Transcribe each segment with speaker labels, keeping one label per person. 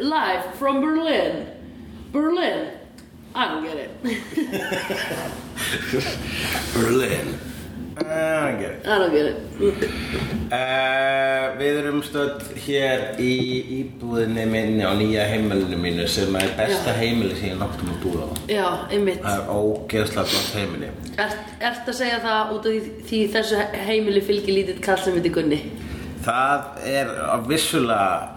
Speaker 1: live from Berlin. Berlin. I don't get it.
Speaker 2: Berlin
Speaker 3: Uh, okay.
Speaker 1: I don't get it.
Speaker 3: Uh, við erum stödd hér í íbúðinni minni á nýja heimilinu mínu sem er besta
Speaker 1: Já.
Speaker 3: heimili sem ég náttum að búa á.
Speaker 1: Já, einmitt.
Speaker 3: Það er ógeðslega gott heimili.
Speaker 1: Ert, ert að segja það út af því, því þessu heimili fylgir lítill kall sem heitir Gunni?
Speaker 3: Það er á vissulega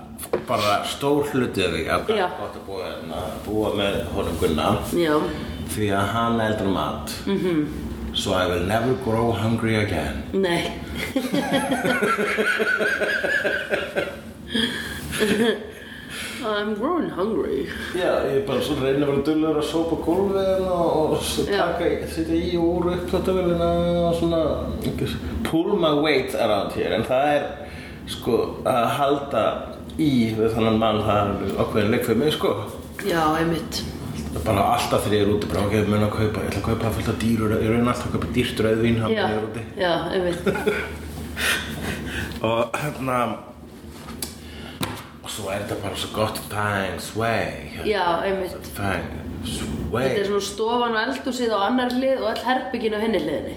Speaker 3: bara stór hluti af því að það
Speaker 1: Já.
Speaker 3: er gott að búa, hérna, búa með honum Gunnar
Speaker 1: Já.
Speaker 3: því að hann eldur mat. Mm
Speaker 1: Mhm.
Speaker 3: -hmm. So I will never grow hungry again.
Speaker 1: Nei. I'm growing hungry.
Speaker 3: Já, ég er bara svona reynið að vera dullur að sópa gólfiðin og, og s-
Speaker 1: Já.
Speaker 3: taka, setja í og úr upptöðavélina og svona einhvers- pull my weight around here en það er sko að halda í við þannan mann það er okkur leik fyrir mig sko
Speaker 1: Já, einmitt.
Speaker 3: Það er bara alltaf þegar ég er úti bara ok, mun að kaupa, ég ætla að kaupa fullt af dýrur ég raun alltaf að kaupa dýrt rauðvín hann
Speaker 1: Já,
Speaker 3: ég er úti
Speaker 1: já, einmitt.
Speaker 3: og hérna og svo er þetta bara svo gott fang sway
Speaker 1: Já, einmitt.
Speaker 3: fang sway
Speaker 1: Þetta er svona stofan og eldhúsið á annar hlið og all herbyggin á henni hliðinni.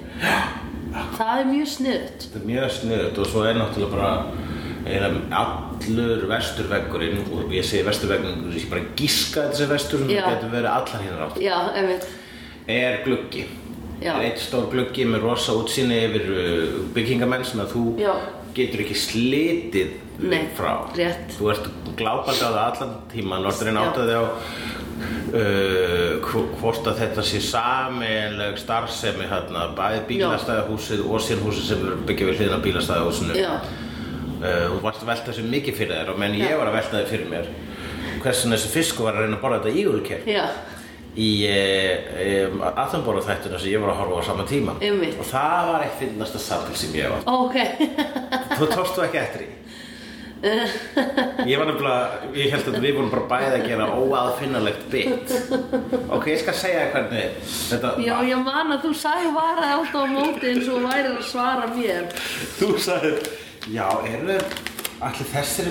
Speaker 1: Það er mjög sniðut.
Speaker 3: Þetta er mjög sniðut og svo er náttúrulega bara er allur vesturveggurinn og ég segi vesturveggurinn, ég bara gíska að þetta sem vestur sem
Speaker 1: Já.
Speaker 3: getur verið allar hérna átt
Speaker 1: Já, einmitt.
Speaker 3: er gluggi
Speaker 1: Já.
Speaker 3: er eitt stór gluggi með rosa útsýni yfir uh, byggingamenn sem að þú
Speaker 1: Já.
Speaker 3: getur ekki slitið
Speaker 1: Nei,
Speaker 3: frá
Speaker 1: rétt.
Speaker 3: þú ert glápandi á það allan tíman og orðurinn
Speaker 1: Já.
Speaker 3: áttaði á uh, hvo- hvort að þetta sé sameiginleg starfsemi hérna, bæði bílastæðahúsið og síðan húsið sem eru byggja við hliðina á bílastæðahúsinu
Speaker 1: Já.
Speaker 3: Uh, þú varst að velta þessu mikið fyrir þér og menn
Speaker 1: Já.
Speaker 3: ég var að velta þér fyrir mér hversin þessi fiskur var að reyna að borða þetta ígulkerk
Speaker 1: Já,
Speaker 3: í um, Attenborough þættuna sem ég var að horfa á sama tíma
Speaker 1: Einmitt.
Speaker 3: og það var eitt finnasta samtal sem ég var
Speaker 1: ok.
Speaker 3: þú tókst þú ekki eftir í ég var nefnilega ég held að við vorum bara bæði að gera óaðfinnalegt bit ok, ég skal segja þér hvernig þetta
Speaker 1: Já, ég man að þú sagði varaði alltaf á móti eins og værið að svara mér.
Speaker 3: þú sagðir já, eru allir þessir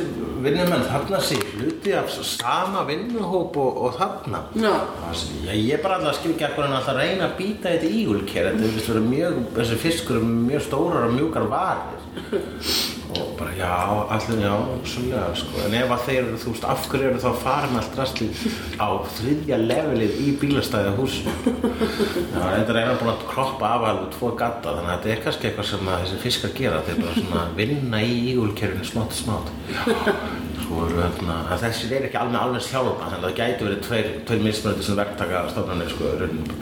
Speaker 3: vinnumenn þarna sig hluti af sama vinnuhóp og, og þarna
Speaker 1: Já.
Speaker 3: Það sem ég- Ég er bara alltaf að skilja ekki hvernig hann alltaf að reyna að býta þetta í úlkér Þetta virðist vera mjög, þessi fiskur er mjög stórar og mjúkar varir Og bara já, allir já, svolítið sko En ef að þeir eru, þú veist, af hverju eru þá farin allt drastli á þriðja levelið í bílastæði hús Já, þetta er eiginlega búin að kroppa af alveg tvo gatta Þannig að þetta er kannski eitthvað sem að þessi fiskar gera Þeir bara svona vinna í ígulkerfinu smátt og smátt Svo eru þarna, að þessir eru ekki alveg alveg sjálfa Þannig að það gæti verið tveir, tveir mismunandi sem verktaka stofnanir sko í rauninni.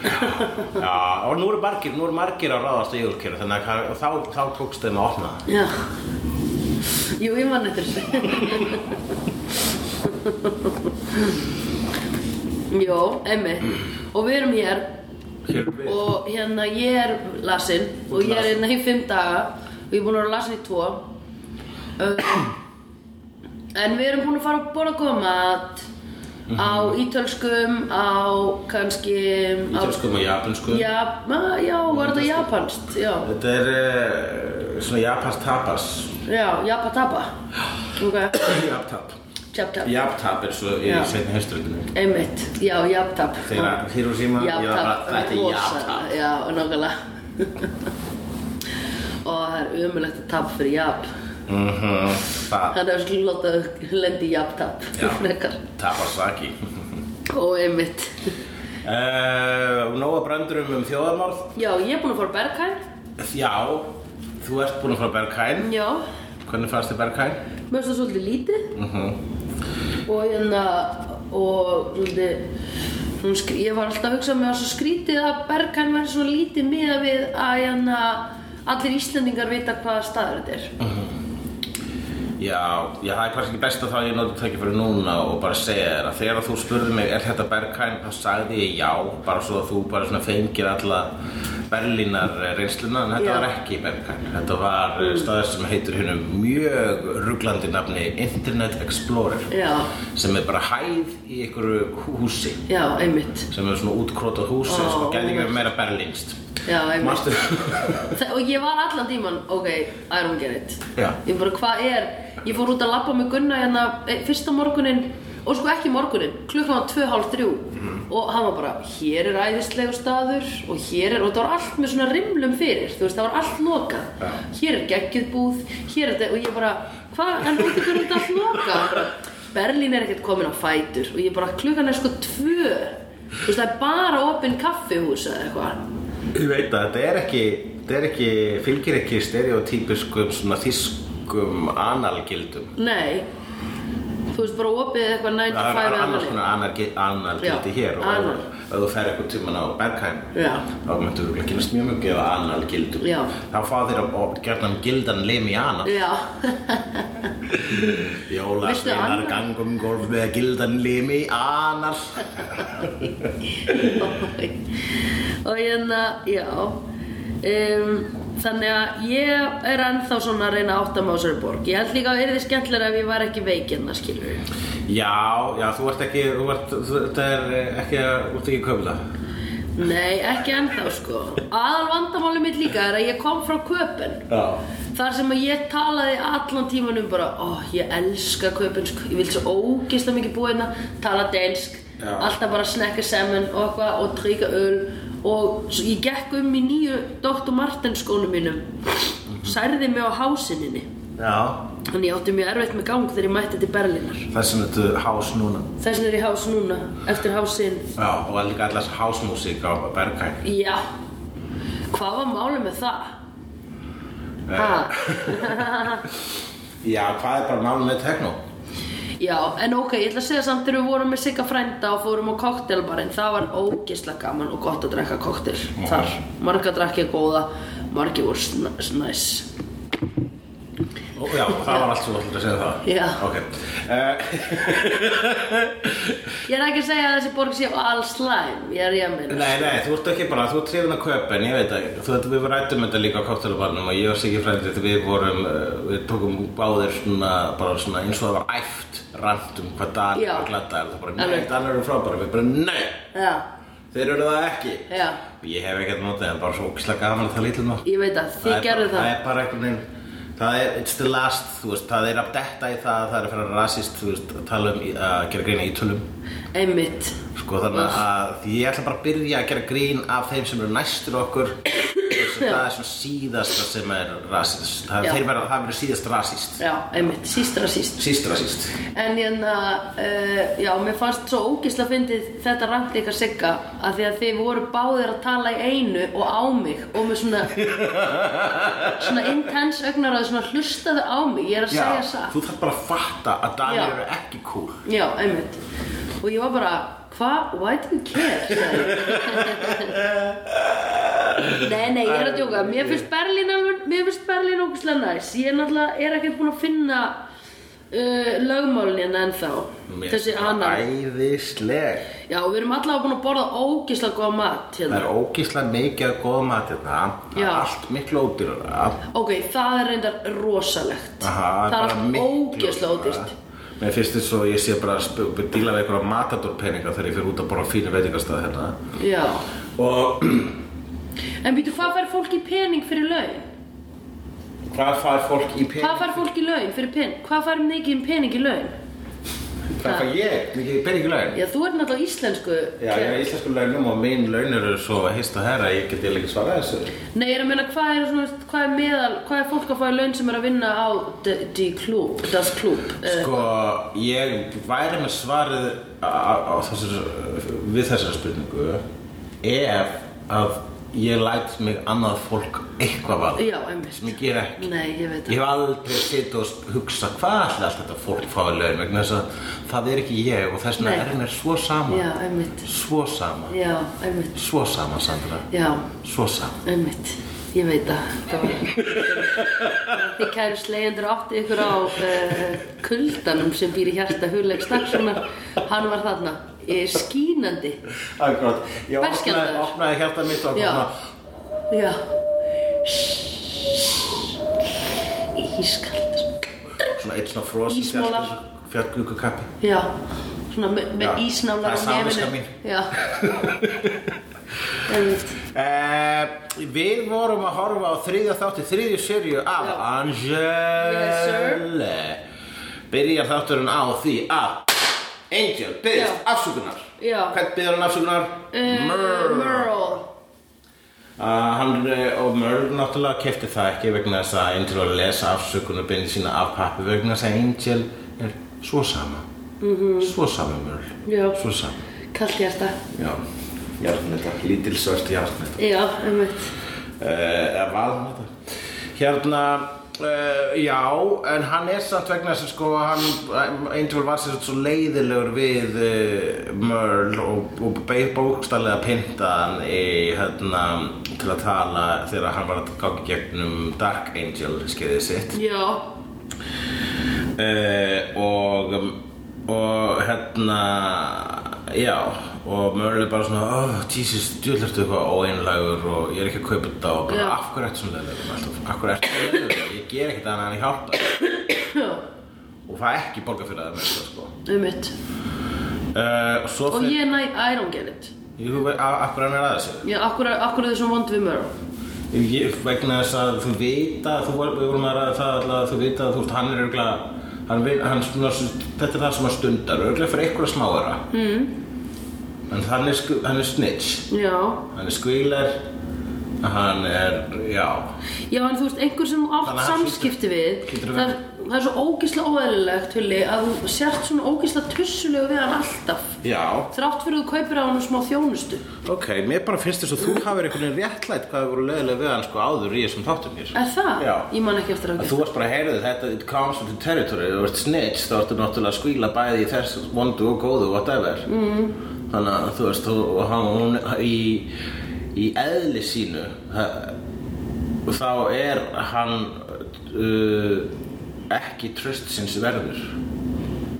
Speaker 3: Já, og nú eru margir, nú eru margir að ráðast í ígulkerfinu Þannig að þá, þá tókst þeim að opna það
Speaker 1: Já. Jú, ég man eftir þessu. Jó, emmi. Og við erum hér
Speaker 3: Hér við
Speaker 1: og hérna ég er lasinn og ég er hérna í fimm daga og ég er búin að vera lasinn í tvo. Uh, en við erum búin að fara að borða góða mat á
Speaker 3: Mhm.
Speaker 1: ítölskum, á kannski... á-
Speaker 3: Ítölskum og japanskum
Speaker 1: Já, ma- já, var þetta japanskt, já.
Speaker 3: Þetta er uh, svona japans tapas
Speaker 1: Já, japatapa Ok,
Speaker 3: Japtap
Speaker 1: tjaptap
Speaker 3: Japtap er svo í
Speaker 1: Já.
Speaker 3: sveitin hösturöndinu
Speaker 1: Einmitt, já, japtap
Speaker 3: Þegar Hiroshima, ég var bara,
Speaker 1: Japtap,
Speaker 3: þetta er japtap
Speaker 1: Já, nákvæmlega Og það er umulegt að tap fyrir jap
Speaker 3: Mhm, Það,
Speaker 1: Þannig að við skulum láta þau lendi í japtap
Speaker 3: Já.
Speaker 1: Frekar.
Speaker 3: tapasaki
Speaker 1: Og einmitt
Speaker 3: uh, Nóa brandurum um þjóðarmorð
Speaker 1: Já, ég er búin að fara á Berghain
Speaker 3: Já, þú ert búin að fara Berghain
Speaker 1: Já,
Speaker 3: Hvernig fannst þið Berghain?
Speaker 1: mér finnst það svolítið lítið Og hérna Og svolítið hún skr- Ég var alltaf að hugsa með að svo skrítið að Berghain verði svo lítið miða við að hérna Allir Íslendingar vita hvaða staður þetta er
Speaker 3: Já, já, það er kannski best að þá ég noti tækifæri núna og bara segja þér að þegar þú spurði mig er þetta Berghain, þá sagði ég já bara svo að þú bara svona fengir alla Berlínar eh, reynsluna en þetta
Speaker 1: Já.
Speaker 3: var ekki Berghain, þetta var mm. staður sem heitur hérna mjög ruglandi nafni Internet Explorer
Speaker 1: Já,
Speaker 3: sem er bara hæð í einhverju hú- húsi
Speaker 1: já, einmitt
Speaker 3: sem er svona útkrótað hús sem
Speaker 1: Ó,
Speaker 3: sko gæti ekki verið meira berlínst
Speaker 1: Já, einmitt
Speaker 3: Mastu?
Speaker 1: Þa, Og ég var allan tíman, ok, I don't get it
Speaker 3: Já.
Speaker 1: Ég bara, hvað er Ég fór út að labba með Gunna hérna e, eh, fyrsta morguninn og sko ekki morgunin, klukkan var 2.30
Speaker 3: Mhm.
Speaker 1: og hann var bara, hér er æðislegu staður og hér er, og það var allt með svona rimlum fyrir, þú veist, það var allt lokað
Speaker 3: Já.
Speaker 1: hér er geggjubúð, hér er þetta og ég bara, hvað, en út ykkur er þetta allt lokað Hann bara, Berlín er ekkert komin á fætur og ég bara, klukkan er sko 2 þú veist, það er bara opinn kaffihús eða eitthvað
Speaker 3: Ég veit að þetta er ekki, þetta er ekki, fylgir ekki stereotypiskum svona þýskum analgildum.
Speaker 1: Nei Þú veist bara opið eitthvað 9 to
Speaker 3: Það
Speaker 1: 5
Speaker 3: er
Speaker 1: eða
Speaker 3: annars
Speaker 1: þannig.
Speaker 3: konar anargi- analgildi
Speaker 1: Já,
Speaker 3: hér og
Speaker 1: anal.
Speaker 3: ef ef þú fer eitthvað tíman á Bergheim
Speaker 1: Já.
Speaker 3: þá myndur við kynast mjög mjög gefa analgildum.
Speaker 1: Já.
Speaker 3: Þá fá þér að gerna um gildan limi anal.
Speaker 1: Já,
Speaker 3: Jólasveinar
Speaker 1: anal?
Speaker 3: gangum golf með gildan limi anal.
Speaker 1: og hérna, já um, Þannig að ég er ennþá svona að reyna að átta mig á þessari borg Ég held líka að yrði skemmtilega ef ég var ekki veik hérna skilur við
Speaker 3: Já, já, þú ert ekki, þú ert, þú- þetta er ekki, þú ert ekki köfla.
Speaker 1: Nei, ekki ennþá sko Aðal vandamáli mitt líka er að ég kom frá köpen
Speaker 3: Já.
Speaker 1: Þar sem að ég talaði allan tíman um bara, ó, ég elska kaupinsk, ég vil svo ógeðslega mikið búa hérna, tala dansk,
Speaker 3: Já.
Speaker 1: alltaf bara snekka semen og eitthvað og tryggja öl og svo ég gekk um í nýju Dr. Martens skónum mínum, særði mig á hásinninni,
Speaker 3: Já.
Speaker 1: þannig ég átti mjög erfitt með gang þegar ég mætti til Berlínar.
Speaker 3: Þess vegna þetta er hás núna.
Speaker 1: Þess vegna er ég hás núna, eftir hásinn,
Speaker 3: Já, og líka allars hásmúsík á Bergheim.
Speaker 1: já, hvað var málið með það? Ha?
Speaker 3: Eh, Já, hvað er bara málum með tekno?
Speaker 1: Já, en ok, ég ætla að segja samt þegar við vorum með Sigga frænda og fórum á koktelbarinn það var ógeðslega gaman og gott að drekka koktel þar, marga drekki góða margi voru sn- sn- næs
Speaker 3: Ó, Já, það var allt sem þú ætlaði að segja um það.
Speaker 1: Já.
Speaker 3: Ok. Uh,
Speaker 1: Ég er ekki að segja að þessi borg sé alls slæm ég er ég að minna
Speaker 3: nei, nei, þú ert ekki bara, þú ert trefin að kaupa, en ég veit ekki. Þú veit, við rættum þetta líka á koktelubarnum og ég og Siggi frændið, við vorum, uh, við tókum báðir svona, bara svona eins og það var æft, rant um hvað dagar
Speaker 1: Já.
Speaker 3: var gladdagar. Það bara, nei,
Speaker 1: Alveg.
Speaker 3: dagar eru frábæra, við bara, nei,
Speaker 1: Já,
Speaker 3: þeir eru það ekki.
Speaker 1: já,
Speaker 3: Ég hef ekkert notið, en bara svo ógislega gaman að um það lítil nokk.
Speaker 1: ég veit að
Speaker 3: Það
Speaker 1: þið
Speaker 3: er
Speaker 1: gerðu
Speaker 3: bara-
Speaker 1: það
Speaker 3: Það er bara einhvern veginn Það er, it's the last, þú veist, það er að detta í það, það er að fara rasist, þú veist, að tala um, í- að gera grín í tölum.
Speaker 1: einmitt
Speaker 3: Sko þannig að því ég ætla bara að byrja að gera grín af þeim sem eru næstur okkur, þess að það er svona síðasta sem er rasist. Það,
Speaker 1: Já.
Speaker 3: þeir verða, það verður síðast rasist.
Speaker 1: Já, einmitt, sístra síst
Speaker 3: Síst rasist.
Speaker 1: En hérna, uh, já, mér fannst svo ógísla fyndið þetta rangt ykkar sigga að því að þið voru báðir að tala í einu og á mig og með svona svona intense augnar að svona hlustaðu á mig, ég er að segja satt
Speaker 3: þú þarf bara að fatta að Danir
Speaker 1: Já.
Speaker 3: eru ekki cool.
Speaker 1: Já, einmitt Og ég var bara, hva, why do you care? sagði ég. nei, nei, ég er að djóka Mér finnst Berlín alveg, mér finnst Berlín ógísla næs Ég er náttúrulega, er ekkert búin að finna uh, lögmálin hérna ennþá
Speaker 3: Mér
Speaker 1: Þessi
Speaker 3: finnst það
Speaker 1: annar
Speaker 3: Æðisleg.
Speaker 1: Já, við erum allavega búin að borða ógislega góða mat
Speaker 3: Það
Speaker 1: hérna.
Speaker 3: er ógíslega mikið að góða matirna, það
Speaker 1: Já.
Speaker 3: er allt miklu ódýrara.
Speaker 1: Ok, það er reyndar rosalegt.
Speaker 3: Aha,
Speaker 1: það er
Speaker 3: bara
Speaker 1: allt
Speaker 3: miklu
Speaker 1: ógislega
Speaker 3: ódýrara.
Speaker 1: ódýrt.
Speaker 3: Mér finnst þess að ég sé bara að sp- díla við einhverja matadorpeninga þegar ég fyrir út að borða á fínu veitingastæði hérna
Speaker 1: Já.
Speaker 3: Og
Speaker 1: En býtu, hvað fær fólk í pening fyrir laun?
Speaker 3: hvað fær fólk í pening?
Speaker 1: Hvað fær fólk í laun fyrir pening? Hvað fær mikið um pening í laun?
Speaker 3: Hvað fær ég? Mikið pening í laun?
Speaker 1: Já, þú ert náttúrulega íslensku.
Speaker 3: Já, ég er í íslensku launum og mín laun eru svo hist og herra, ég get ég ekki svarað þessu
Speaker 1: Nei, ég er að meina, hvað er, svona, hvað er meðal, hvað er fólk að fá í laun sem er að vinna á d- d klub, das klub? Eh,
Speaker 3: Sko, ég væri með svarið á, á þessar, við þessari spurningu ef að ég læt mig annað fólk eitthvað val
Speaker 1: já, einmitt.
Speaker 3: sem ég ger ekki
Speaker 1: Nei, ég veit það.
Speaker 3: Ég hef aldrei sitt og hugsa hvað ætla allt þetta fólk fái laun vegna þess að það er ekki ég og þess vegna
Speaker 1: Nei.
Speaker 3: er mér svo sama
Speaker 1: Já, einmitt.
Speaker 3: svo sama,
Speaker 1: Já, einmitt.
Speaker 3: svo sama Sandra,
Speaker 1: Já.
Speaker 3: svo sama
Speaker 1: Einmitt, ég veit að það var Þið kæru slegjendur átti ykkur á uh, kuldanum sem býr í hjarta hugleik Stakssonar, hann var þarna uh, skínandi
Speaker 3: Akkurat, ég opnaði,
Speaker 1: Berskjaldaður.
Speaker 3: opnaði hjarta mitt og
Speaker 1: Já.
Speaker 3: svona
Speaker 1: Já Ískald
Speaker 3: svona eitt svona frosin
Speaker 1: Ísmolar.
Speaker 3: fjallgluku kappi
Speaker 1: Já, svona með, með
Speaker 3: Já,
Speaker 1: ísnálar
Speaker 3: það er samviska mín.
Speaker 1: Já Einmitt
Speaker 3: Eh, Við vorum að horfa á þriðja þátti, þriðju sériu af
Speaker 1: Já.
Speaker 3: Angele
Speaker 1: Yes,
Speaker 3: Byrjar þátturinn á því að Angel, byggðist
Speaker 1: Já.
Speaker 3: afsökunar
Speaker 1: Já.
Speaker 3: Hvern byggður hann afsökunar?
Speaker 1: Uh, Merle.
Speaker 3: Uh, hann eh, og Merle náttúrulega kefti það ekki vegna þess að Angel var að lesa afsökunarbyrni sína af pappi vegna þess að Angel er svo sama -hmm. svo sama Merle
Speaker 1: Mhm. Já.
Speaker 3: svo sama
Speaker 1: Kallt hjarta.
Speaker 3: já, járnetta, lítil svört járnetta
Speaker 1: Já, einmitt.
Speaker 3: Eh, eða valnetta hérna Uh, já, en hann er samt vegna þess að sko hann, eh, Angel var sér svo leiðilegur við uh, Merle og, og beir bókstallega pyntaðan í, hérna, til að tala þegar hann var að gangi gegnum Dark Angel skeiðið sitt
Speaker 1: Já.
Speaker 3: uh, og og hérna já og Merle er bara svona oh, Jesus, djúðlertu eitthvað óeinlægur og ég er ekki að kaupa þetta og bara
Speaker 1: Já.
Speaker 3: af hverju ertu svona leiðilegur alltaf, af hverju ertu svona leiðilegur ég ger ekkert annað en ég hjálpa þér
Speaker 1: Já,
Speaker 3: og fæ ekki borga fyrir það með þetta sko
Speaker 1: einmitt.
Speaker 3: uh, og svo
Speaker 1: Og
Speaker 3: fyrir,
Speaker 1: ég næ, I don't get it.
Speaker 3: ég, af, af hverju hann er aðeins
Speaker 1: Já, akkur, akkur er þið svona vond við Merle.
Speaker 3: Ég, vegna þess að þú vita þú var, við vorum að ræða það alltaf að þú vita að þú veist hann er örgla hann, vin- hann, svona, þetta er það sem hann stundar örgla fyrir einhverja smáara mm. en hann er, sku- hann er snitch
Speaker 1: Já.
Speaker 3: hann er skvílar hann er, já
Speaker 1: Já, en þú veist, einhver sem þú átt
Speaker 3: Þannig að hann
Speaker 1: samskipti við,
Speaker 3: hlýtur að
Speaker 1: það er, það er svo ógísla óeðlilegt, Hulli, að þú sért svona ógísla tussulegu við hann alltaf.
Speaker 3: já,
Speaker 1: Þrátt fyrir þú kaupir á hann smá þjónustu.
Speaker 3: ok, mér bara finnst þess að þú hafir einhvern veginn réttlætt hvað hefur voru leðilega við hann sko áður í þessum þáttum hér
Speaker 1: Er það?
Speaker 3: Já.
Speaker 1: Ég man ekki eftir að
Speaker 3: Að þú varst bara að heyrðu þetta, it comes with the territory, þú ert snitch, þá ertu náttúrulega að skvíla bæði í þess vondu og góðu, whatever. Mm. Þannig að þú veist, þú, og hann, hún, í, í eðli sínu, ha- þá er hann uh, ekki tröst sinns verður.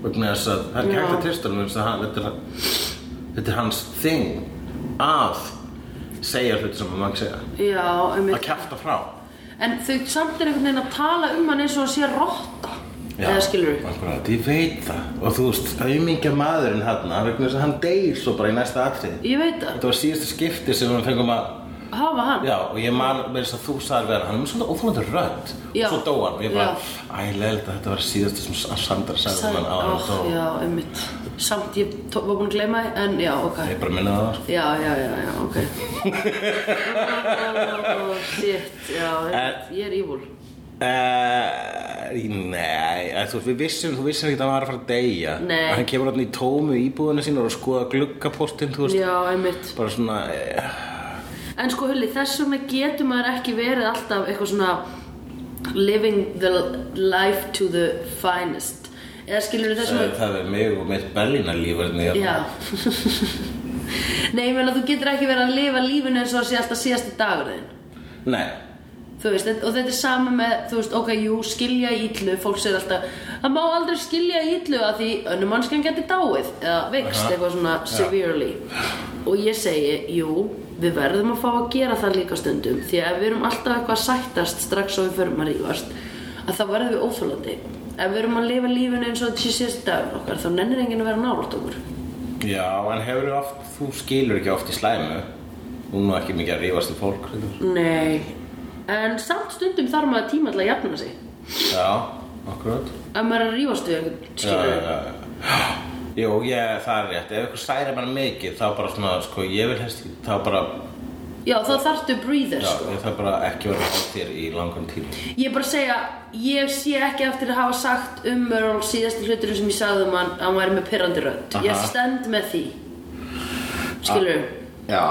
Speaker 3: Vegna þess að það er ekki
Speaker 1: Já.
Speaker 3: hægt að trösta hann, þess að hann, þetta er, hann- þetta er hans þing að segja hluti sem hann mann segja.
Speaker 1: Já,
Speaker 3: Að
Speaker 1: einmitt.
Speaker 3: kæfta frá.
Speaker 1: En þau samt er einhvern veginn að tala um hann eins og hann sé rotta.
Speaker 3: Já,
Speaker 1: Eða skilur við.
Speaker 3: Akkurat, ég veit það og þú veist, aumingja maðurinn hann vegna þess að hann deyr svo bara í næsta atrið
Speaker 1: Ég veit það.
Speaker 3: Þetta var síðasta skipti sem við fengum að
Speaker 1: Hafa hann.
Speaker 3: Já, og ég man með þess að þú sagði vera hann er svona óþólandi rödd
Speaker 1: Já.
Speaker 3: og svo dó hann og ég
Speaker 1: Já.
Speaker 3: bara, æ, leiðilegt að þetta var síðasta sem Sa- Sandra sagði um hann á hann
Speaker 1: oh,
Speaker 3: dó
Speaker 1: já, einmitt. Samt, ég tó- var búin að gleyma þið, en já, ok.
Speaker 3: Ég bara minna það sko.
Speaker 1: Já, já, já, já, ok. oh, shit, já, einmitt. ég er ívúl.
Speaker 3: Uh, nei, eh, þú veist, við vissum, þú vissum ekki að hann var að fara að deyja
Speaker 1: Nei.
Speaker 3: Hann kemur hann í tómu íbúðinu sín og er að skoða gluggapostinn, þú veist
Speaker 1: Já, einmitt.
Speaker 3: Bara svona, eh,
Speaker 1: En sko, Hulli, þess vegna getur maður ekki verið alltaf eitthvað svona living the life to the finest. Eða skilur við þessum
Speaker 3: það það er mig og mitt Berlínarlíf hérna hvernig ég-
Speaker 1: Já Nei, ég meina þú getur ekki verið að lifa lífinu eins og það sé alltaf síðasti dagur þinn
Speaker 3: Nei,
Speaker 1: Þú veist, þetta- og þetta er sama með, þú veist, ok, jú, skilja íllu, fólk segir alltaf Það má aldrei skilja íllu að því önnum mannskjan geti dáið Eða veikst
Speaker 3: Aha.
Speaker 1: eitthvað svona severely Og ég segi, jú, við verðum að fá að gera það líka stundum Því að ef við erum alltaf eitthvað að sættast strax og við förum að rífast Að þá verðum við óþólandi Ef við erum að lifa lífinu eins og þetta sé síðasti dagur okkar Þá nennir enginn að vera nálægt okkur
Speaker 3: já, en hefur oft, þú skilur ekki oft í slæmu Hún er ekki mikið að rífast í fólk reyndar.
Speaker 1: Nei, en samt stundum þarf maður tíma til að jafna sig
Speaker 3: Já, akkurat
Speaker 1: Ef maður er að rífast við einhvern
Speaker 3: Já,
Speaker 1: skilur
Speaker 3: já, já já. Jú, ég, það er rétt, ef ykkur særi bara mikið þá bara svona, sko, ég vil helst ekki þá bara,
Speaker 1: Já, þá þarftu breather
Speaker 3: já,
Speaker 1: sko
Speaker 3: ég þarf bara ekki að vera á þér í langan tíma
Speaker 1: Ég er bara að segja, ég sé ekki eftir að hafa sagt um Mörl síðasti hluturinn sem ég sagði um hann að hann væri með pirrandi rödd Ég
Speaker 3: Aha. Ah.
Speaker 1: stend með því Skilur
Speaker 3: Já,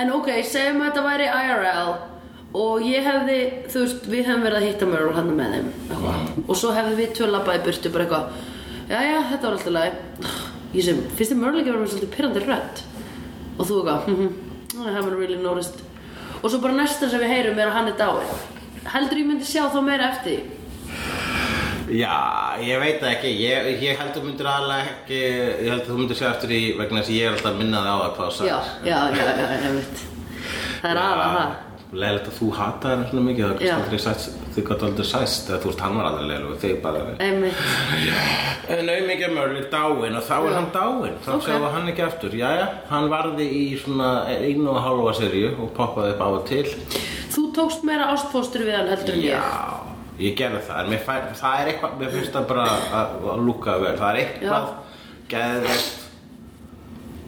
Speaker 1: En ok, segjum að þetta væri IRL og ég hefði, þú veist, við hefum verið að hitta Mörl hann með þeim eitthvað. og svo hefðum við tvö labbaði burtu bara eitthvað Jæja, þetta var alltaf lagi Ég sem, finnst þið Mörl ekki að vera með svolítið pirrandi rödd? Og þú eitthvað, hm hm, I haven't really noticed Og svo bara næsta sem við heyrum er að hann er dáið Heldur ég myndi sjá þá meira eftir því?
Speaker 3: Já, ég veit það ekki, ég, ég held að þú myndir aðalega ekki, ég held að þú myndir sjá eftir í vegna þess að ég er alltaf minnaði á það hvað það
Speaker 1: Já, já, já, já, ég veit Það er aðra það
Speaker 3: Leðilegt að þú hataði hann svona mikið, það
Speaker 1: Já.
Speaker 3: gæti aldrei sæst, þið gæti aldrei sæst, eða þú veist, hann var aldrei leðilega, þið bara leðilega.
Speaker 1: Einmitt,
Speaker 3: En auðvitað mörl er dáinn og þá er
Speaker 1: Já.
Speaker 3: hann dáinn, þá
Speaker 1: Ok.
Speaker 3: okay. sjáum við hann ekki aftur. Jæja, hann varði í svona einu og hálfa seríu og poppaði upp á og til.
Speaker 1: þú tókst meira ástfóstur við hann heldur en ég
Speaker 3: Já, ég gerði það, en mér fæ, það er eitthvað, mér finnst það bara að, að lúka vel, það er eitthvað geðvegt,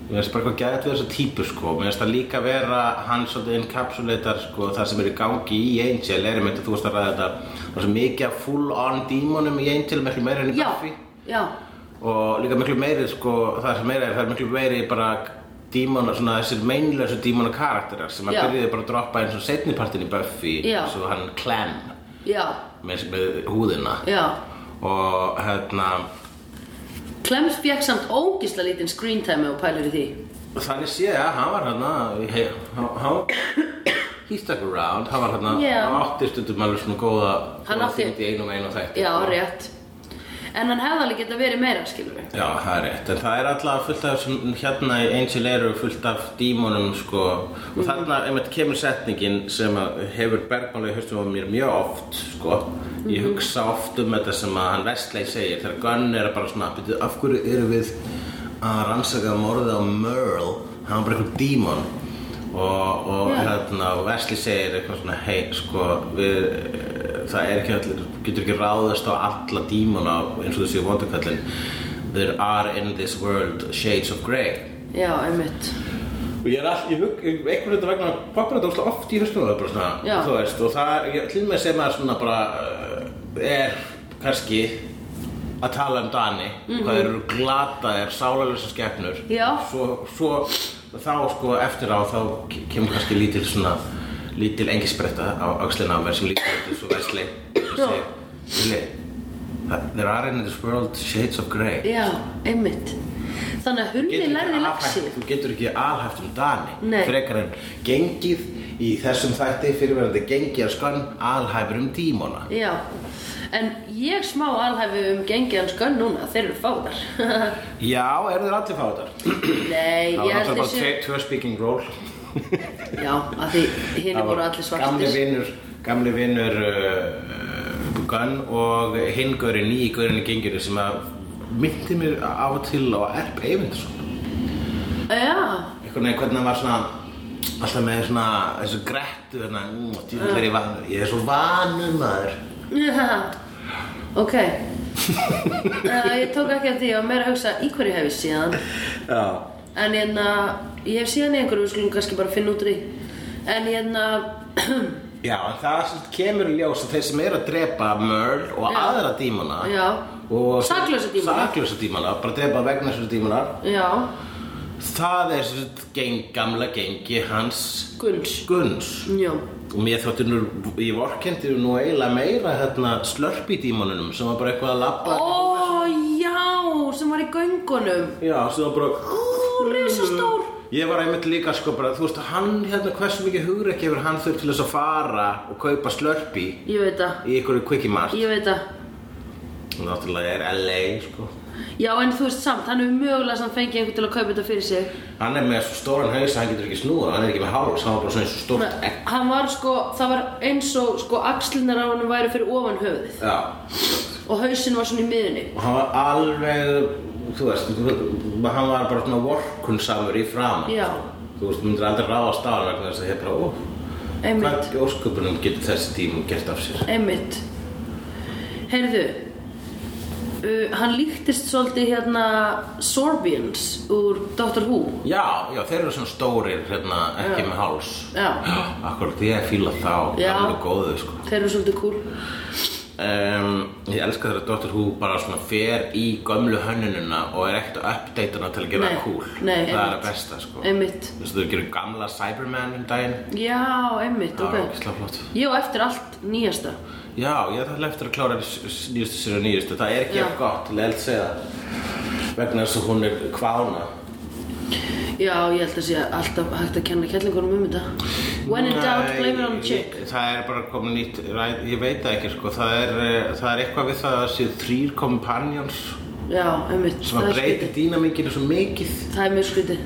Speaker 3: mér finnst bara eitthvað geðvegt við þessa típu sko, mér finnst það líka vera hann svolítið encapsulator sko, það sem er í gangi í Angel er einmitt að þú veist að ræða þetta, það er svo mikið af full on dímonum í Angel, miklu meira enn í
Speaker 1: Já,
Speaker 3: Buffy
Speaker 1: já,
Speaker 3: og líka miklu meiri sko, það sem meira er, það er miklu meiri bara dímona, svona þessir meinlösu dímona karakterar sem að
Speaker 1: Já.
Speaker 3: byrjuði bara að droppa eins og setnipartin í Buffy,
Speaker 1: Já.
Speaker 3: svo hann Clem
Speaker 1: já,
Speaker 3: með, með húðina
Speaker 1: já.
Speaker 3: og hérna
Speaker 1: Clems fekk samt ógisla lítinn screen time og pælur í því.
Speaker 3: þannig sé ég að hann var hérna he- hann hann- he stuck around, hann var hérna
Speaker 1: Já.
Speaker 3: hann átti stundum alveg svona góða
Speaker 1: Hann
Speaker 3: góða
Speaker 1: átti-
Speaker 3: þyngd í einum einum þætti
Speaker 1: Já,
Speaker 3: sko.
Speaker 1: rétt. En hann hefði alveg geta verið meira, skilur við.
Speaker 3: Já, það er rétt, en það er alltaf fullt af sem hérna í Angel eru fullt af dímonum sko og þarna einmitt kemur setningin sem að hefur bergmála í höstum á mér mjög oft sko ég hugsa oft um þetta sem að hann Vestley segir þegar Gunn er bara svona "Bíddu, af hverju eru við að rannsaka morðið á Merle hann var bara einhver dímon og, og
Speaker 1: Já.
Speaker 3: hérna og Vestley segir eitthvað svona hei sko við eh, það er ekki allir, getur ekki ráðast á alla dímona eins og þessi vondakallin There are in this world shades of grey
Speaker 1: Já, einmitt.
Speaker 3: Og ég er all, ég hug, ég- einhvern veginn vegna poppar þetta óslega oft í höstunum það er bara svona,
Speaker 1: Já.
Speaker 3: þú veist, og það, ég til með sem að svona bara uh, er kannski að tala um Dani, hvað þeir eru glata, er sálarlösa skepnur
Speaker 1: Mhm. Já.
Speaker 3: svo, svo þá sko eftir á þá ke- kemur kannski lítil svona, lítil engisbretta á öxlina á mér sem líka þetta svo versli og
Speaker 1: Já.
Speaker 3: segir, Vili, there are in this world shades of grey
Speaker 1: Já, einmitt. Þannig að
Speaker 3: Getur
Speaker 1: hunni
Speaker 3: ekki
Speaker 1: lærði
Speaker 3: alhæft-
Speaker 1: leksið.
Speaker 3: Þú getur ekki alhæft um Dani
Speaker 1: Nei.
Speaker 3: Frekar en gengið í þessum þætti fyrirverandi gengið að skann alhæfur um dímona
Speaker 1: Já. En ég smá alhæfi um gengið hans gönn núna, þeir eru fáðar.
Speaker 3: Já, eru þeir allir fátar?
Speaker 1: Nei,
Speaker 3: Það
Speaker 1: ég
Speaker 3: var
Speaker 1: held
Speaker 3: alltaf bara
Speaker 1: þessu...
Speaker 3: tve- tvö speaking role
Speaker 1: Já, af því
Speaker 3: Það
Speaker 1: hérna
Speaker 3: var
Speaker 1: voru allir
Speaker 3: Gamli
Speaker 1: svartir.
Speaker 3: vinnur, gamli vinnur uh, Gunn og hinn gaurinn, nýi gaurinn í genginu sem að myndi mér á og til á Erp Eyvindarsson
Speaker 1: Já,
Speaker 3: einhvern veginn hvernig hann var svona alltaf með svona þessu grettu hérna, mm, djúvill er ég vanur, ég er svo vanur maður
Speaker 1: Já, ok uh, Ég tók ekki eftir því, ég var meira að hugsa í hverju hef ég síðan
Speaker 3: Já
Speaker 1: En hérna, ég hef síðan í einhverju, við skulum kannski bara finna út úr því En hérna,
Speaker 3: Já, en það sem kemur í ljós að þeir sem eru að drepa Merle og
Speaker 1: Já.
Speaker 3: aðra dímana
Speaker 1: já,
Speaker 3: og
Speaker 1: Saklausa dímona.
Speaker 3: saklausa dímana, bara drepa vegna þessu dímana
Speaker 1: já,
Speaker 3: það er sem sagt geng, gamla gengi hans
Speaker 1: Gunns
Speaker 3: Gunns
Speaker 1: Já,
Speaker 3: og mér þótti nú, ég vorkendi nú eiginlega meira hérna slörpi dímanunum sem var bara eitthvað að labba
Speaker 1: ó, já, sem var í göngunum
Speaker 3: Já, sem var bara
Speaker 1: Ó, risastór
Speaker 3: Ég var einmitt líka sko bara, þú veist, hann hérna, hversu mikið hugrekki hefur hann þurft til þess að fara og kaupa slörpi
Speaker 1: Ég veit það,
Speaker 3: í einhverju kvikimart
Speaker 1: ég veit það
Speaker 3: Náttúrulega er LA, sko
Speaker 1: Já, en þú veist samt, hann hefur mögulega samt fengið einhvern til að kaupa þetta fyrir sig
Speaker 3: Hann er með svo stóran haus að hann getur ekki snúða, hann er ekki með háls, hann var bara svona eins og stórt egg.
Speaker 1: Hann var sko, það var eins og sko axlinar á hann væri fyrir ofan höfuðið
Speaker 3: Já,
Speaker 1: og hausinn var svona í miðunni
Speaker 3: og hann var alveg, þú veist, hann var bara svona vorkunsamur í fram.
Speaker 1: Já.
Speaker 3: Þú veist, þú myndir aldrei ráðast á hann vegna þess að ég bara, óh,
Speaker 1: Einmitt,
Speaker 3: hvað í ósköpunum getur þessi tímum gert af sér?
Speaker 1: einmitt Heyrðu uh, Hann líktist svolítið hérna Sorbians úr Doctor Who
Speaker 3: Já, já, þeir eru svona stórir, hérna, ekki með háls.
Speaker 1: Já,
Speaker 3: Akkurat, ég fíla þá, það
Speaker 1: Já.
Speaker 3: er alveg góðu, sko.
Speaker 1: þeir eru svolítið cool
Speaker 3: Um, ég elska þegar Dr. Who bara svona fer í gömlu hönnununa og er ekkert að update hana til að gera
Speaker 1: Nei,
Speaker 3: það cool.
Speaker 1: nei,
Speaker 3: það er
Speaker 1: einmitt.
Speaker 3: að besta, sko.
Speaker 1: Einmitt
Speaker 3: Þú veist, þau gerir gamla Cyberman um daginn.
Speaker 1: Já, einmitt,
Speaker 3: Það var
Speaker 1: ok
Speaker 3: ekki flott.
Speaker 1: Ég á eftir allt nýjasta
Speaker 3: Já, ég ætla eftir að klára s- s- nýjustu sér og nýjustu. Það er ekki
Speaker 1: Já.
Speaker 3: eftir gott, til að segja það. Vegna þess að hún er kvána.
Speaker 1: Já, ég held að sé alltaf hægt að kenna kellingunum um þetta When in doubt,
Speaker 3: Nei,
Speaker 1: blame it on the chick
Speaker 3: Það er bara komið nýtt, ræð- ég veit það ekki, sko. Það er, eh, það er eitthvað við það að séu þrýr kompanjóns
Speaker 1: Já, einmitt
Speaker 3: sem
Speaker 1: það
Speaker 3: að
Speaker 1: er
Speaker 3: breyti
Speaker 1: skrítið.
Speaker 3: dýnamíkinu svo mikið.
Speaker 1: Það er mjög skrítið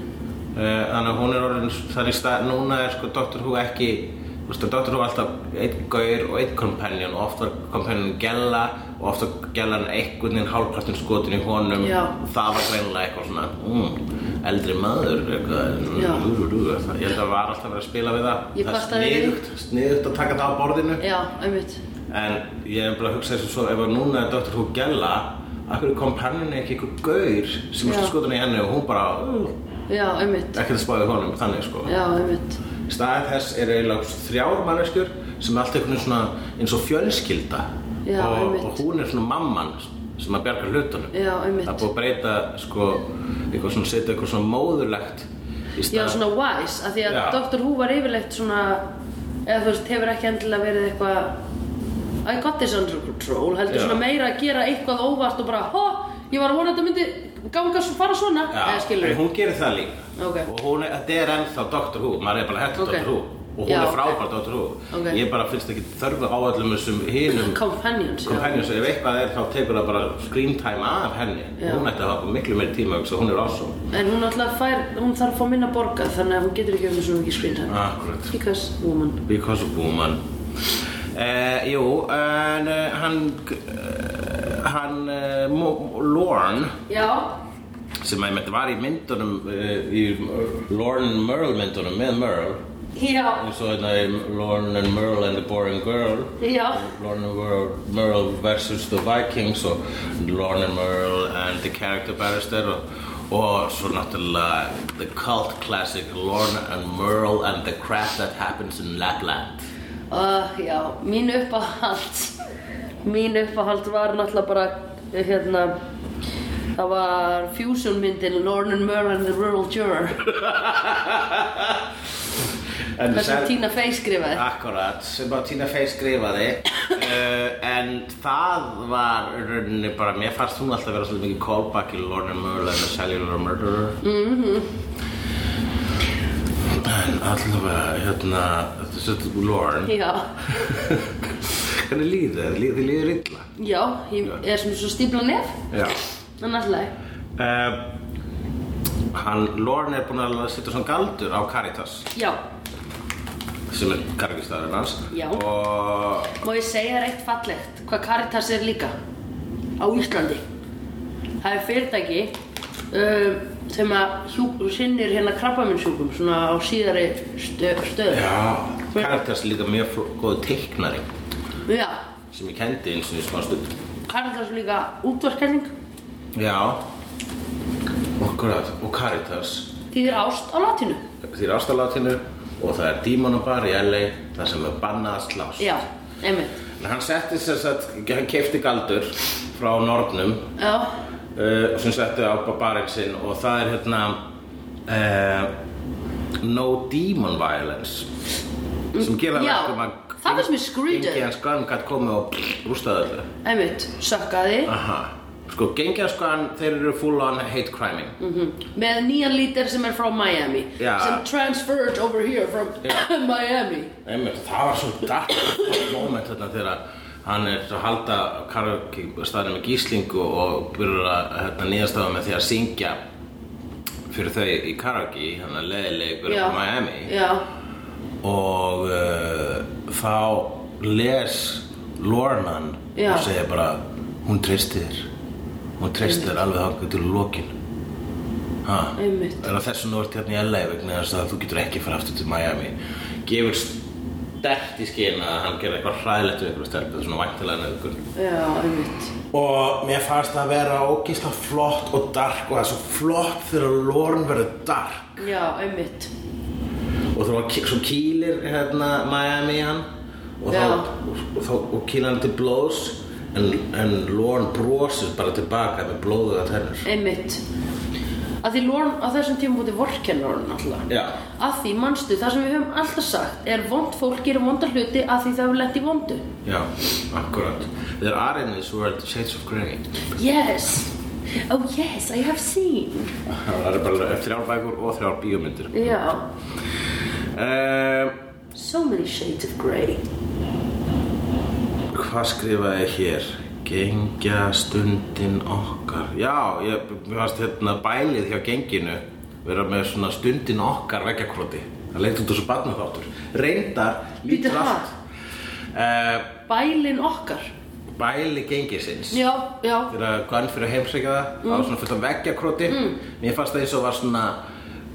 Speaker 3: Eh, Þannig að hún er orðin, það er í stað, núna er sko Dr. Who ekki, þú veist að Dr. Who er alltaf einn gaur og einn companion og oft var companion gella og oft var gellan einhvern veginn hálfpartin skotin í honum
Speaker 1: Já.
Speaker 3: það var greinilega eitthvað svona mm, eldri maður eitthvað, "Mm,
Speaker 1: Já.
Speaker 3: rúrurú, það, ég held að það var alltaf verið að spila við það
Speaker 1: Ég
Speaker 3: það
Speaker 1: kvartaði
Speaker 3: er
Speaker 1: við
Speaker 3: sniðugt, sniðugt að taka það á borðinu
Speaker 1: Já, einmitt
Speaker 3: en ég hef bara hugsað sem svo ef að núna er Dr. Who gæla af hverju kom pennunni ekki einhver gaur sem
Speaker 1: Já.
Speaker 3: varst skotin í henni og hún bara uh,
Speaker 1: já, einmitt
Speaker 3: ekkert að spáði honum þannig sko
Speaker 1: já, einmitt
Speaker 3: í staðið þess er eiginlega þrjár manneskjur sem er allt einhvern veginn svona eins og fjölskylda
Speaker 1: Já,
Speaker 3: og,
Speaker 1: einmitt.
Speaker 3: og hún er svona mamman sem að bjarga hlutunum
Speaker 1: Já, einmitt.
Speaker 3: það er búið að breyta sko eitthvað svona setja eitthvað svona móðurlegt í
Speaker 1: já,
Speaker 3: stað
Speaker 1: svona wise, af því að
Speaker 3: Já.
Speaker 1: Dr. Who var yfirleitt svona eða þú veist, hefur ekki endilega verið eitthvað I got this under control heldur
Speaker 3: Já.
Speaker 1: svona meira að gera eitthvað óvart og bara, hó, ég var að vona að þetta myndi ganga svo fara svona, eða skilur
Speaker 3: en hún gerir það líka
Speaker 1: Ok.
Speaker 3: og hún er, þetta er ennþá Dr. Who maður er bara hægt
Speaker 1: Ok.
Speaker 3: okay. Dr. Who og hún
Speaker 1: Já,
Speaker 3: er
Speaker 1: ok.
Speaker 3: frábær Dr. Who
Speaker 1: Ok.
Speaker 3: ég bara finnst ekki þörfu á öllum þessum hinum
Speaker 1: companions, já.
Speaker 3: companions ef eitthvað er þá tekur það bara screen time af henni
Speaker 1: Já.
Speaker 3: hún ætti að hafa miklu meiri tíma svo hún er awesome
Speaker 1: en hún alltaf fær, hún þarf að fá minna borga þannig að hún getur ekki um þessu mikið screen time
Speaker 3: akkurat
Speaker 1: because woman
Speaker 3: Because of woman uh, Jú, en uh, hann uh, hann uh, Mo- Lorne
Speaker 1: já,
Speaker 3: sem að þetta var í myndunum uh, í Lorne Merle myndunum með Merle
Speaker 1: já,
Speaker 3: eins og þetta í Lorne and Merle and the Boring Girl
Speaker 1: já
Speaker 3: Lorne and Merle, Merle versus the Vikings og Lorne and Merle and the Character Barrister og, og svo náttúrulega the cult classic Lorne and Merle and the crap that happens in Lapland
Speaker 1: Uh, já, mín uppáhald Mín uppáhald var náttúrulega bara hérna Það var fusion myndin Lorne and Merle and the Rural Juror
Speaker 3: En
Speaker 1: Þar sem
Speaker 3: sem-
Speaker 1: Tina Fey
Speaker 3: Ah.
Speaker 1: skrifaði
Speaker 3: Akkurat, sem bara Tina Fey skrifaði uh, En það var í rauninni bara, mér fannst hún alltaf vera svolítið mikið callback í Lorna Merle and the Cellular Murderer mm -hmm. En allavega, hérna, þetta er svo Lorne
Speaker 1: Já,
Speaker 3: Hvernig líður þér? Líður þér líður illa?
Speaker 1: já, ég er sem svo stípla nef
Speaker 3: Já
Speaker 1: En náttúrulega,
Speaker 3: uh, Eh, Hann, Lorne er búinn að setja svona galdur á Caritas
Speaker 1: já
Speaker 3: sem er kargistæðurinn hans
Speaker 1: Já.
Speaker 3: og
Speaker 1: Má ég segja þér eitt fallegt Hvað Caritas er líka Á Íslandi Það er fyrirtæki um, sem að hjúp, sinnir hérna krabbaminsjúkum svona á síðari stö, stöð
Speaker 3: Já, Caritas er líka mjög fló- góð teiknari
Speaker 1: já
Speaker 3: sem ég kendi eins og í smá stund.
Speaker 1: Karitas líka útvarkenning
Speaker 3: Já, akkurat, og Caritas,
Speaker 1: þýðir ást á latinu.
Speaker 3: því er ástalatinu og það er dímonabar í LA, það sem er bannað að slást.
Speaker 1: Já, einmitt.
Speaker 3: En hann setti sér satt, hann keipti galdur frá Nornum
Speaker 1: Já,
Speaker 3: uh, sem setti á barinn sinn og það er hérna uh, No Demon Violence sem gera
Speaker 1: Já,
Speaker 3: verkum að
Speaker 1: það finnst mér skrýtið.
Speaker 3: Gengi hans gun gætt komið og rústaði öllu.
Speaker 1: einmitt. Sökkaði
Speaker 3: Aha. Sko, gengjarskan, þeir eru full on hate criming.
Speaker 1: með nýjan lítir sem er frá Miami.
Speaker 3: Já.
Speaker 1: Sem transferred over here from Miami.
Speaker 3: Einmitt, það var svo dark moment þarna þegar hann er að halda karaoke-staðnum í gíslingu og byrjar að hérna, nýjastafa með því að syngja fyrir þau í karaoke, hann að leiðileg byrja
Speaker 1: Já.
Speaker 3: á Miami
Speaker 1: Já,
Speaker 3: og uh, þá les Lornan
Speaker 1: Já.
Speaker 3: og segja bara hún treysti þér hún treysti þér alveg hangað til lokin ha,
Speaker 1: Einmitt.
Speaker 3: er það þessum þú ert hérna í LA vegna þess að þú getur ekki fara aftur til Miami gefur stert í skinn að hann gerir eitthvað hræðilegt við ykkur stelpu, svona væntilega nöðgur
Speaker 1: já, einmitt.
Speaker 3: og mér fannst það að vera ógislega flott og dark og það er svo flott þegar Lorn verður dark
Speaker 1: Já, einmitt.
Speaker 3: og þá var- svo kýlir hérna Miami hann og þá,
Speaker 1: Já.
Speaker 3: og þá og kýlir hann til blóðs en, en Lorne brosir bara tilbaka með blóðuða tennur
Speaker 1: Einmitt. Að því Lorne á þessum tímum búti vorkennur hann alltaf.
Speaker 3: Já,
Speaker 1: Að því, manstu, það sem við höfum alltaf sagt er vond fólk gerir vondar hluti að því það hefur lent í vondu.
Speaker 3: já, akkurat There are in this world shades of grey
Speaker 1: Yes. Oh yes, I have seen.
Speaker 3: Það eru bara þrjár bækur og þrjár bíómyndir
Speaker 1: Já,
Speaker 3: um,
Speaker 1: so many shades of grey.
Speaker 3: Hvað skrifaði ég hér? Gengja stundin okkar Já, ég mér fannst hérna bælið hjá genginu vera með svona stundin okkar veggjakroti Það leit út þessu barnaþáttur Reyndar,
Speaker 1: Bíddu,
Speaker 3: lítur allt uh,
Speaker 1: Bælin okkar.
Speaker 3: Bæli gengisins
Speaker 1: Já, já, Mm.
Speaker 3: Þegar Gunn fyrir að heimsækja það Það var svona fullt af veggjakroti Mér fannst það eins og var svona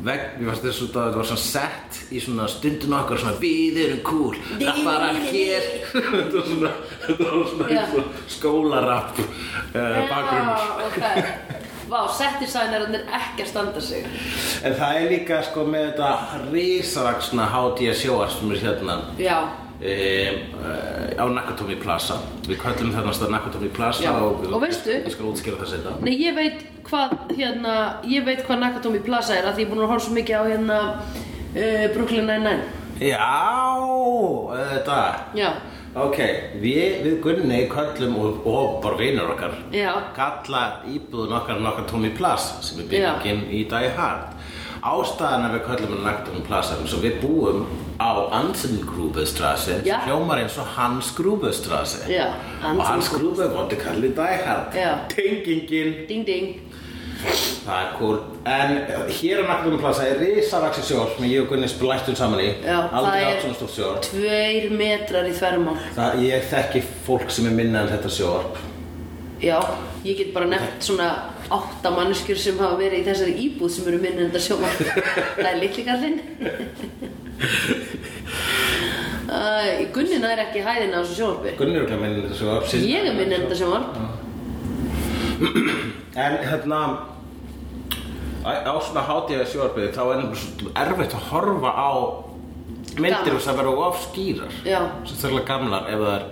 Speaker 3: vegg, mér fannst þess að þetta var svona sett í svona stundin okkar svona við erum cool, rapparar hér þetta var svona, þetta var svona
Speaker 1: Já.
Speaker 3: eins og skólarapp uh, bakgrunnur
Speaker 1: Já, ok. Vá, settisænararnir ekki að standa sig.
Speaker 3: en það er líka sko með þetta risavaksna hátíja sjóar sem er hérna
Speaker 1: Já,
Speaker 3: Um, uh, á Nakatomi Plaza við kallum þarna stað Nakatomi Plaza
Speaker 1: Já.
Speaker 3: og,
Speaker 1: Og veistu-
Speaker 3: ég skal útskýra það setna
Speaker 1: nei ég veit hvað, hérna, ég veit hvað Nakatomi Plaza er að því ég er búin að horfa svo mikið á hérna uh, Brooklyn Nine-Nine.
Speaker 3: Já, þetta
Speaker 1: Já,
Speaker 3: Ok, við, við Gunni kallum og, og bara vinur okkar
Speaker 1: já,
Speaker 3: kalla íbúðun okkar Nakatomi Plaza sem er byggingin í Die Hard Ástæðan að við kallum hann Nakatomi Plaza er eins og við búum á Ansengrúbestrasse
Speaker 1: Já.
Speaker 3: sem hljómar eins og Hans Grúbestrasse
Speaker 1: Já,
Speaker 3: og Hans Grúbe vondi kallið Die Hard
Speaker 1: Já.
Speaker 3: Tengingin
Speaker 1: ding ding.
Speaker 3: Það er cool. En eh, hér á Nakatomi Plaza er risavaxi sjór sem ég og Gunni splæstum saman í
Speaker 1: Já,
Speaker 3: Aldrei
Speaker 1: það
Speaker 3: átt
Speaker 1: er-
Speaker 3: svona stórt sjór
Speaker 1: Tveir metrar í þverjumál.
Speaker 3: Það, ég þekki fólk sem er minna en þetta sjóarp.
Speaker 1: Já, ég get bara nefnt svona átta manneskjur sem hafa verið í þessari íbúð sem eru minni en þetta sjóma. það er litli kallinn. Æ, Gunni nær ekki hæðina á þessu sjónvarpi.
Speaker 3: Gunni er okkur minna en þetta sjóarp. síðan-
Speaker 1: Ég er minni en þetta sjónvarp.
Speaker 3: En hérna, á- á svona hátíða sjóarpið þá er nefnilega svo erfitt að horfa á myndir
Speaker 1: Gaman.
Speaker 3: sem verður of skýrar.
Speaker 1: Já.
Speaker 3: Svo þurfa gamlar ef það er,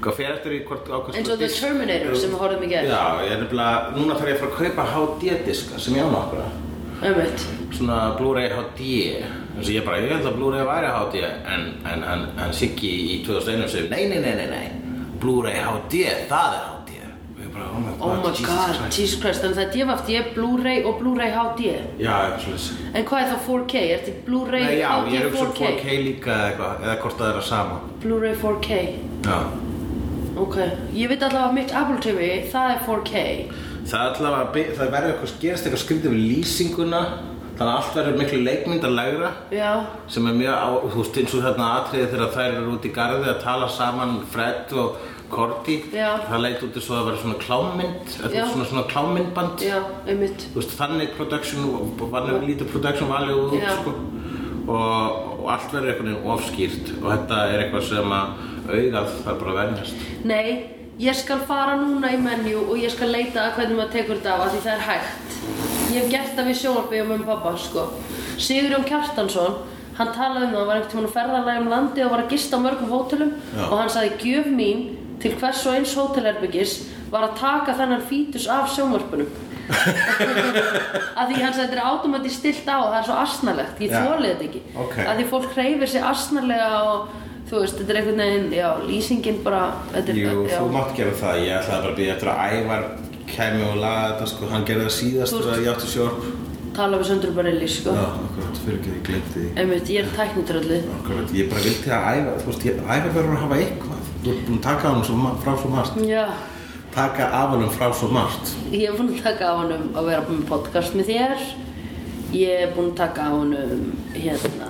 Speaker 3: sko, fyrir eftir í hvort ákvæmst.
Speaker 1: Eins og The Terminator sem við horfðum í gerð.
Speaker 3: Já, ég er nefnilega, núna þarf ég að fara að kaupa HD-diska sem ég á nokkra.
Speaker 1: Ömmit.
Speaker 3: svona Blu-ray HD eins og ég bara, ég held að Blu-ray væri HD en, en hann, hann Siggi í 2001 segir, nei, nei, nei, nei, nei Blu-ray HD, það er HD og ég bara, oh my god,
Speaker 1: Oh my
Speaker 3: Jesus
Speaker 1: god,
Speaker 3: Christ.
Speaker 1: Jesus Christ. Þannig það er DFFD, Blu-ray og Blu-ray HD.
Speaker 3: já, eitthvað svoleiðis.
Speaker 1: En hvað er þá 4K? Er þetta Blu-ray
Speaker 3: Nei, já, ég
Speaker 1: HD
Speaker 3: er um 4K líka eða eitthvað, eða hvort það er að sama
Speaker 1: Blu-ray 4K.
Speaker 3: já,
Speaker 1: Ok. Ég veit allavega að mitt Apple TV, það er 4K.
Speaker 3: það er alltaf að by- það verður eitthvað, gerist eitthvað skrítið við lýsinguna þannig að allt verður miklu leikmyndarlegra
Speaker 1: Já.
Speaker 3: sem er mjög, á, þú veist, eins og þarna atriði þegar þær eru út í garði að tala saman Fred og Korti
Speaker 1: Já.
Speaker 3: það leit út eins og það var svona klámynd
Speaker 1: Já.
Speaker 3: eða svona, svona klámyndband
Speaker 1: Já, einmitt.
Speaker 3: þú veist, þannig production vanlega lítið production value út,
Speaker 1: Já.
Speaker 3: sko. og, og allt verður einhvern veginn ofskýrt og þetta er eitthvað sem að augað það bara að venjast
Speaker 1: Nei, ég skal fara núna í menju og ég skal leita að hvernig maður tekur þetta af af því það er hægt. Ég hef gert það við sjónarbyggja með pappa, sko. Sigurjón Kjartansson, hann talaði um það, hann var einhvern tímann að ferðalega um landi og var að gista á mörgum hótelum
Speaker 3: Já.
Speaker 1: og hann sagði gjöf mín til hvers og eins hótelherbyggis var að taka þennan fítus af sjónvarpunum. að því hann sagði þetta er automatið stilt á og það er svo asnalegt, ég
Speaker 3: Já.
Speaker 1: þólið þetta ekki.
Speaker 3: Ok.
Speaker 1: Af því fólk hreyfir sig asnalega og þú veist, þetta er einhvern veginn, já, lýsingin bara, þetta
Speaker 3: Jú,
Speaker 1: já.
Speaker 3: þú mátt gera það, ég ætlaði bara að býja eftir að Ævar kæmi og laga þetta, sko, hann gerði það síðast
Speaker 1: Þú-
Speaker 3: þegar ég átti sjórp
Speaker 1: Tala við Söndur Barelli, sko.
Speaker 3: Já, akkurat, fyrir ekki, ég glemti því
Speaker 1: Einmitt, ég er tæknitröllu.
Speaker 3: Akkurat, ég bara vildi að æfa, þú veist, ég- æfa verður að hafa eitthvað. Þú ert búin að taka hann svo, ma- frá svo margt.
Speaker 1: Já,
Speaker 3: Taka af hann frá svo margt.
Speaker 1: ég er búin að taka af honum að vera með podcast með þér. Ég er búin að taka af honum, hérna,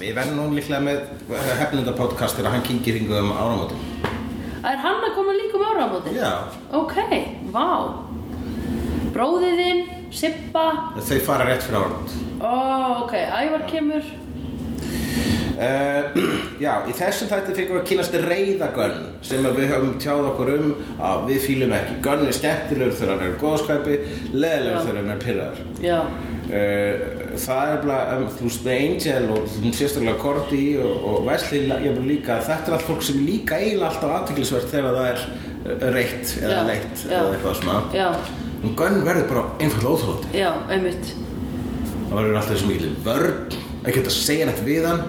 Speaker 3: Ég verði nú líklega með hefnenda podcast þegar hann kynkir hringu um áramótum.
Speaker 1: er hann að koma líka um áramótin?
Speaker 3: Já,
Speaker 1: Ok, vá. Bróðiðinn, Sippa,
Speaker 3: þau fara rétt fyrir áramót.
Speaker 1: ó, ok, Ævar kemur.
Speaker 3: Uh, já, í þessum þætti fengum við að kynast reyðagönn sem að við höfum tjáð okkur um að við fýlum ekki. Gönn er skemmtilegur þegar hann er í góðskæpi, leðilegur
Speaker 1: Já.
Speaker 3: þegar hann er pyrraður.
Speaker 1: Já,
Speaker 3: Eh, það er bara, um, þú veist, The Angel og þú veist, sérstaklega Cordy og, og Wesley, ég bara líka, þetta er allt fólk sem er líka eiginlega alltaf aðtiklisvert þegar það er eh, reitt eða
Speaker 1: Já,
Speaker 3: leitt
Speaker 1: já.
Speaker 3: eða eitthvað svona.
Speaker 1: já,
Speaker 3: En Gunn verður bara einfalda óþrótti.
Speaker 1: já, einmitt.
Speaker 3: Það verður alltaf þessu mikil vörn, ekki hægt að segja nætt við hann,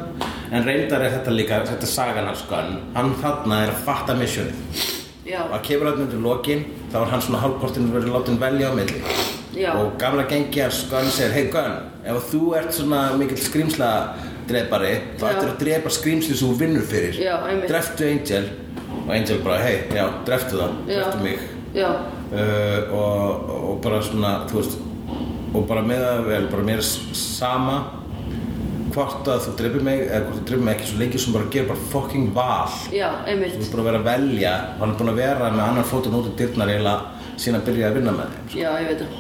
Speaker 3: en reyndar er þetta líka, þetta er sagan hans Gunn, hann þarna er að fatta missionið.
Speaker 1: Já,
Speaker 3: Og að kemur hann undir lokin, þá er hann svona hálfkortinn verið látin velja á milli.
Speaker 1: já,
Speaker 3: Og gamla gengi hans Gunn segir, hei Gunn, ef þú ert svona mikill skrýmsla drepari, þá
Speaker 1: Já.
Speaker 3: ættir að drepa skrýmsli sem þú vinnur fyrir.
Speaker 1: Já, einmitt.
Speaker 3: Dreftu Angel, og Angel bara, hei, já, dreftu það,
Speaker 1: Já.
Speaker 3: dreftu mig.
Speaker 1: já,
Speaker 3: Uh, og, og bara svona, þú veist, og bara með það vel, bara mér er s- sama hvort að þú drefur mig, eða hvort þú drefur mig ekki svo lengi sem bara gerir bara fucking val.
Speaker 1: já,
Speaker 3: Þú
Speaker 1: einmitt.
Speaker 3: er búin að vera að velja, hann er búin að um vera með annar fótinn út í dyrnar eiginlega síðan að byrja að vinna með þeim.
Speaker 1: Já, ég veit það.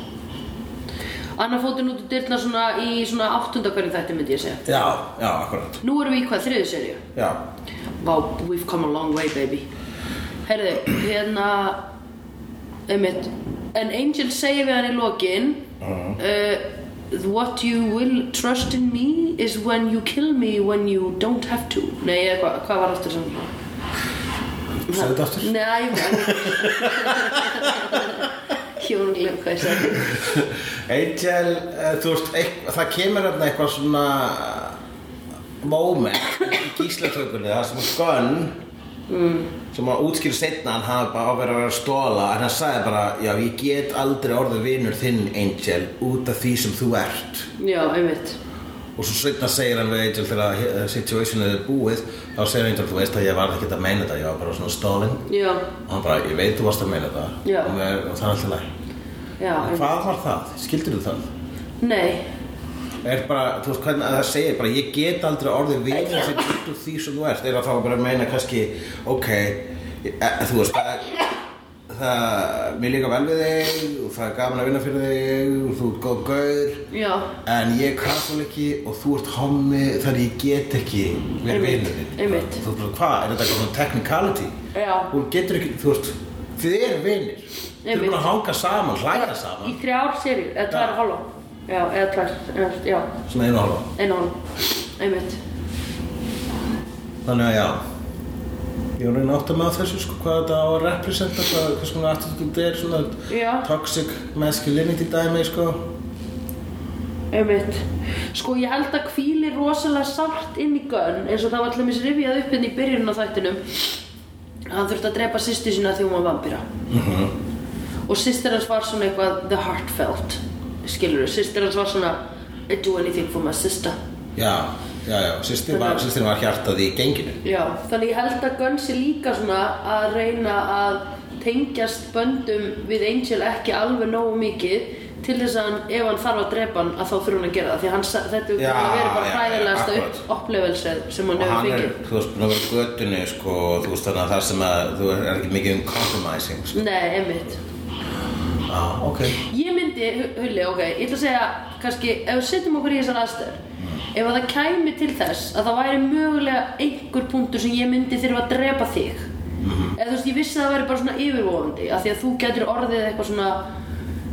Speaker 1: annar fótinn út úr dyrna svona í svona áttundakverjum þætti myndi ég segja
Speaker 3: Já, já, akkurat
Speaker 1: Nú erum við í hvað þriðu serju
Speaker 3: Já,
Speaker 1: Vá, we've come a long way baby Herðu, hérna einmitt En Angel segir við hann í lokin uh, What you will trust in me is when you kill me when you don't have to Nei, eða hva, hvað var aftur sem
Speaker 3: segðu þetta aftur
Speaker 1: Nei, ég Ég var nú að glemma hvað ég sagði
Speaker 3: Angel, eh, þú veist, eitth- það kemur hérna eitthvað svona eh, moment í gíslatökunni það sem að Gunn sem að útskýra setna hann hafa bara á verið að vera að stóla en hann sagði bara, já ég get aldrei orðið vinur þinn Angel út af því sem þú ert
Speaker 1: Já, einmitt
Speaker 3: og svo setna segir hann við Angel þegar eh, situationið er búið þá segir Angel, þú veist að ég var ekki að meina þetta ég var bara svona stólinn
Speaker 1: Já,
Speaker 3: og hann bara, ég veit þú varst að meina þetta
Speaker 1: Já.
Speaker 3: og við- og það er alltaf læg
Speaker 1: já einmitt.
Speaker 3: hvað var það? Skildir þú það?
Speaker 1: Nei,
Speaker 3: er bara, þú veist hvernig að það segir bara ég get aldrei orðið vinur sem út úr því sem þú ert, er að þá bara að meina kannski, ok e, þú veist það, það mér líka vel við þig og það er gaman að vinna fyrir þig og þú ert góð gaur
Speaker 1: já
Speaker 3: en ég er kathol ekki og þú ert hommi þannig ég get ekki verið
Speaker 1: Einmitt,
Speaker 3: vinur þinn
Speaker 1: einmitt.
Speaker 3: þú veist bara, hvað, er þetta eitthvað svona technicality
Speaker 1: Já.
Speaker 3: þú getur ekki, þú veist þið eru vinir, þið eru
Speaker 1: Einmitt.
Speaker 3: bara að hanga saman hlæja saman,
Speaker 1: Í þrjár serjur, eða tvær
Speaker 3: Já.
Speaker 1: og hálfa Já, eða tvær, eða- já,
Speaker 3: svona einu og hálfa
Speaker 1: einu og hálfa Einmitt
Speaker 3: Þannig að já Ég var reyna átt að með þessu sko hvað þetta á að representa hvað, hvað svona attitude er svona
Speaker 1: Já.
Speaker 3: toxic masculinity dæmi sko
Speaker 1: Einmitt Sko, ég held að hvíli rosalega sárt inn í gönn eins og það var allmest rifjað upp hérna í byrjun á þættinum að hann þurfti að drepa sýstu sína því hún var vampíra og sýstir hans var svona eitthvað the heartfelt skilur við, sýstir hans var svona I do anything for my sister
Speaker 3: Já, já, já, sýstir var, systir var hjartað í genginu
Speaker 1: Já, þannig ég held að Gunn sé líka svona að reyna að tengjast böndum við Angel ekki alveg nógu mikið til þess að hann, ef hann þarf að drepa hann að þá þurfa hann að gera það því að hann, sa- þetta er
Speaker 3: Já,
Speaker 1: verið bara
Speaker 3: já, já,
Speaker 1: hræðilegasta
Speaker 3: akkurat.
Speaker 1: upp- upplifelsið sem hann
Speaker 3: og
Speaker 1: hefur
Speaker 3: hann er,
Speaker 1: fengið
Speaker 3: þú veist, búin að vera á götunni sko, og þú veist þannig að það sem að þú er ekki mikið um compromising sko.
Speaker 1: Nei, einmitt
Speaker 3: Já, ok
Speaker 1: Ég myndi, Hu- Hulli, ok, ég ætla að segja kannski, ef við setjum okkur í þessar aðstöður
Speaker 3: Mm.
Speaker 1: ef að það kæmi til þess að það væri mögulega einhver punktur sem ég myndi þurfa að drepa þig
Speaker 3: Mhm.
Speaker 1: eða þú veist, ég vissi að það væri bara svona yfirvofandi af því að þú getur orðið eitthvað svona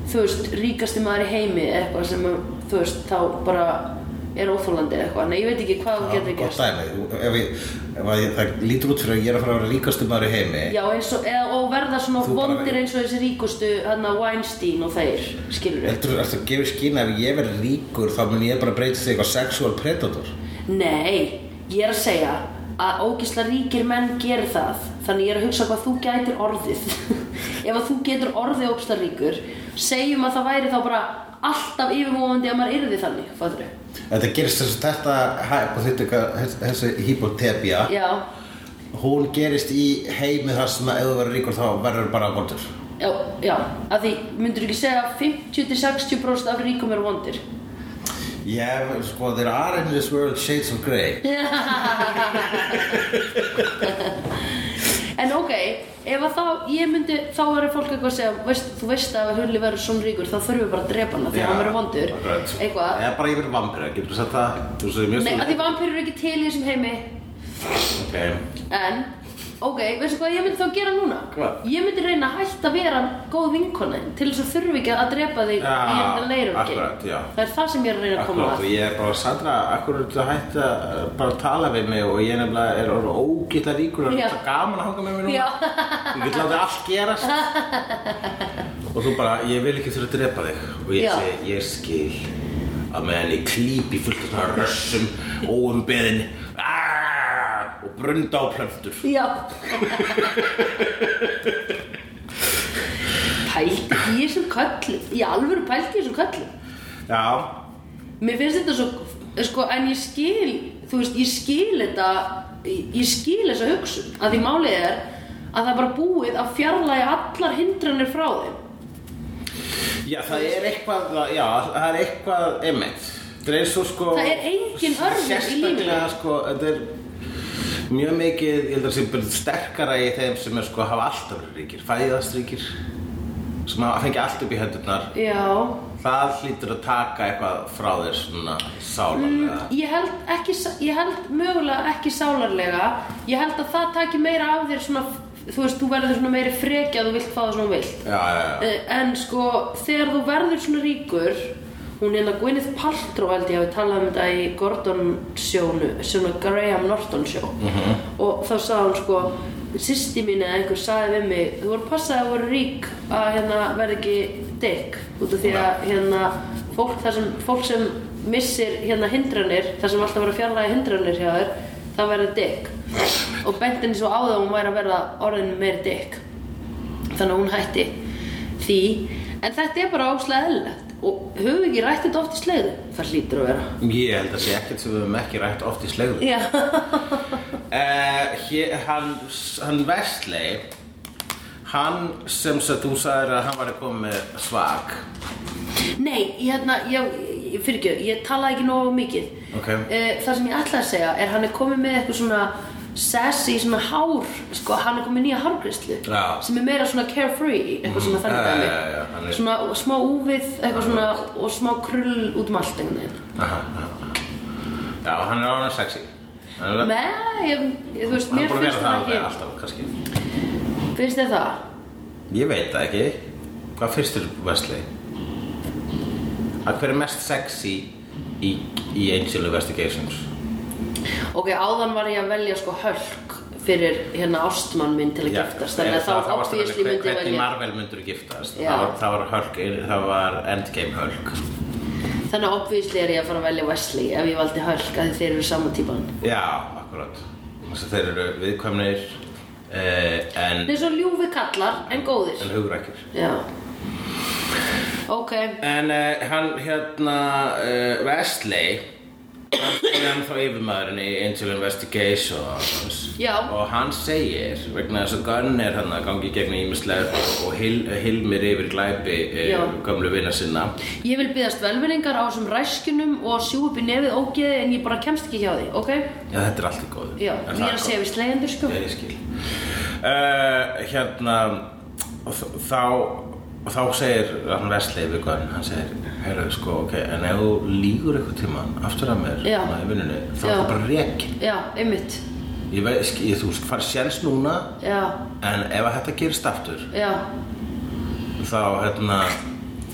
Speaker 1: þú veist, ríkasti maður í heimi eða eitthvað sem, þú veist, þá bara er óþólandi eða eitthvað, nei, ég veit ekki hvað þú getur
Speaker 3: Gott
Speaker 1: gert
Speaker 3: dæmi, ef ég, ef að ég, það lítur út fyrir að ég er að fara að vera ríkastu maður í heimi
Speaker 1: Já, eins og, eða, og verða svona
Speaker 3: Þú bara
Speaker 1: vondir
Speaker 3: veit.
Speaker 1: eins og þessi ríkustu, hérna, Weinstein og þeir, skilur
Speaker 3: Heldur þú að gefa skýna ef ég verð ríkur þá mun ég bara breyta þig eitthvað sexual predator
Speaker 1: Nei, ég er að segja að ógisla ríkir menn gerir það þannig ég er að hugsa hvað þú gætir orðið ef að þú getur orðið ógisla ríkur segjum að það væri þá bara alltaf yfirvofandi að maður yrði þannig fattur
Speaker 3: Þetta gerist þess að þetta hypothetika, þessi hypotepia,
Speaker 1: Já,
Speaker 3: hún gerist í heimi þar sem að ef þú verður ríkur þá verður bara vondur.
Speaker 1: já, já að því myndur ekki segja að 50-60% af ríkum eru vondir
Speaker 3: Yeah, sko, there are in this world shades of grey.
Speaker 1: En ok, ef að þá, ég myndi, þá verður fólk eitthvað að segja, veist, þú veist að ef Hulli verður svona ríkur, þá þurfum við bara að drepa hana þegar hann verður vondur, eitthvað.
Speaker 3: Eða bara ég verður vampira, getur þú sett það? Þú segir mjög
Speaker 1: Nei, að því vampýrur eru ekki til í þessum heimi
Speaker 3: Ok,
Speaker 1: En, ok, veistu hvað ég myndi þá gera núna?
Speaker 3: Hvað?
Speaker 1: Ég myndi reyna að hætta að vera góð vinkona þín Til þess að þurfi ekki að drepa þig
Speaker 3: Já,
Speaker 1: í hérna leirum
Speaker 3: akkurat, já.
Speaker 1: Það er það sem ég er að reyna að koma
Speaker 3: akkurat, og
Speaker 1: að
Speaker 3: ég er bara, Sandra, akkur er þetta að hætta uh, bara að tala við mig og ég nefnilega er orðið ógilla ríkur og það
Speaker 1: Já.
Speaker 3: er svo gaman að hanga með mér núna.
Speaker 1: Já.
Speaker 3: Ég vil láta allt gerast. og þú bara, ég vil ekki þurfa að drepa þig. Og ég
Speaker 1: Já.
Speaker 3: segi, ég skil að meðan ég klípi fullt af svona rössum, óumbeðin, aaaah, og brunda á plöntur.
Speaker 1: Já Pældi í þessum köllum Í alvöru pældi í þessum köllum
Speaker 3: Já,
Speaker 1: Mér finnst þetta svo sko, En ég skil Þú veist, ég skil þetta Ég ég skil þessa hugsun Að því málið er að það er bara búið að fjarlæga allar hindranir frá þeim
Speaker 3: já, það er eitthvað, já, það er eitthvað, einmitt. Það er eins og sko...
Speaker 1: Það er engin örfum í lífinu
Speaker 3: Sérstaklega sko, þetta er mjög mikið, ég held að það sé bara sterkara í þeim sem er sko að hafa alltaf verið ríkir, fæðast ríkir, sem hafa fengið allt upp í höndurnar
Speaker 1: Já,
Speaker 3: það hlýtur að taka eitthvað frá þér svona sálanlega
Speaker 1: Ég held, ekki, ég held mögulega ekki sálarlega Ég held að það taki meira af þér svona Þú veist, þú verður svona meiri frekja Þú vilt fá það svona þú vilt
Speaker 3: Já, já, já,
Speaker 1: Eh, En sko, þegar þú verður svona ríkur Hún er hérna Gwyneth Paltrow held ég hafi talað um þetta í Gordon sjónu Svona Graham Norton sjó Og þá sagði hún sko Sýsti mín eða einhver sagði við mig Þú voru passað að þú voru rík að hérna verði ekki dick Út af því að hérna fólk, þar sem, fólk sem missir hérna hindranir Þar sem alltaf verður að fjarlæga hindranir hjá þér Það verður dick Og bentin svo á það að hún væri að verða orðin meiri dick þannig að hún hætti því en þetta er bara óslega eðlilegt og höfum við ekki rætt þetta oft í sleiðu það hlýtur að vera
Speaker 3: ég held að sé ekkert sem við höfum ekki rætt oft í slegðu
Speaker 1: já,
Speaker 3: Eh, hér, hann, hann Vestley hann sem sem þú sagðir að hann var að koma með svag
Speaker 1: nei, ég, hérna ég, ég, fyrir ekki, ég talaði ekki nógu mikið
Speaker 3: Ok.
Speaker 1: Eh, það sem ég ætla að segja er hann er komið með eitthvað svona sassy, svona hár sko, hann er komið með nýja hárgrislu
Speaker 3: Já. Mm. Eh,
Speaker 1: sem er meira svona carefree eitthvað svona þannig
Speaker 3: já,
Speaker 1: dæmi
Speaker 3: já, já, hann er-
Speaker 1: svona smá úfið eitthvað svona
Speaker 3: Ah.
Speaker 1: og smá krull út um allt einhvern veginn
Speaker 3: Aha, aha. já, hann er ánæg sexy hann er
Speaker 1: Nei, ég, ég, þú veist,
Speaker 3: hann er
Speaker 1: mér
Speaker 3: búin að
Speaker 1: finnst
Speaker 3: vera það
Speaker 1: það
Speaker 3: alveg
Speaker 1: ekki
Speaker 3: alltaf kannski
Speaker 1: Finnst þið það?
Speaker 3: ég veit það ekki hvað finnst þér Vestley að hver er mest sexy í, í Angel Investigations
Speaker 1: Ok, áðan var ég að velja sko hölk fyrir hérna ástmann minn til að
Speaker 3: Já,
Speaker 1: giftast þannig
Speaker 3: ef
Speaker 1: að þá
Speaker 3: varstu að velja
Speaker 1: obviously
Speaker 3: hver-
Speaker 1: myndi ég
Speaker 3: hvernig
Speaker 1: velja
Speaker 3: Marvel myndur giftast
Speaker 1: Já.
Speaker 3: það var, það var, Hulk, það var Endgame Hulk
Speaker 1: þannig að obviously er ég að fara að velja Wesley ef ég valdi hölk að þeir eru sama típan
Speaker 3: Já, akkurat Þess að þeir eru viðkvæmnir eh, en,
Speaker 1: Þeir eru svo ljúfi kallar en góðir
Speaker 3: en hugrækir
Speaker 1: Já Ok,
Speaker 3: En eh, hann hérna eh, Wesley hann er ennþá yfirmaðurinn í Angel Investigations
Speaker 1: Já.
Speaker 3: og hann segir vegna þess að Gunn er hann að gangi gegn ímislega og hil, hilmir yfir glæpi eh,
Speaker 1: Já.
Speaker 3: gömlu vina sinna
Speaker 1: ég vil byggðast velvinningar á þessum ræskunum og sjú upp í nefið ógeði en ég bara kemst ekki hjá því, ok?
Speaker 3: Já, þetta er allt í góðu
Speaker 1: Já, ég
Speaker 3: Er það
Speaker 1: er að
Speaker 3: gott?
Speaker 1: segja við slegjendur sko
Speaker 3: Já, ég skil uh, Hérna þ- þá þá segir hann Vestlið við Gunn hann segir, heyrðu sko, ok en ef þú lígur eitthvað tíman aftur að mér
Speaker 1: Já.
Speaker 3: svona í vinnunni, þá
Speaker 1: Já.
Speaker 3: er það bara rekin
Speaker 1: Já, einmitt
Speaker 3: ég veit, skil, þú farið sjens núna
Speaker 1: Já,
Speaker 3: en ef að þetta gerist aftur
Speaker 1: já,
Speaker 3: þá hérna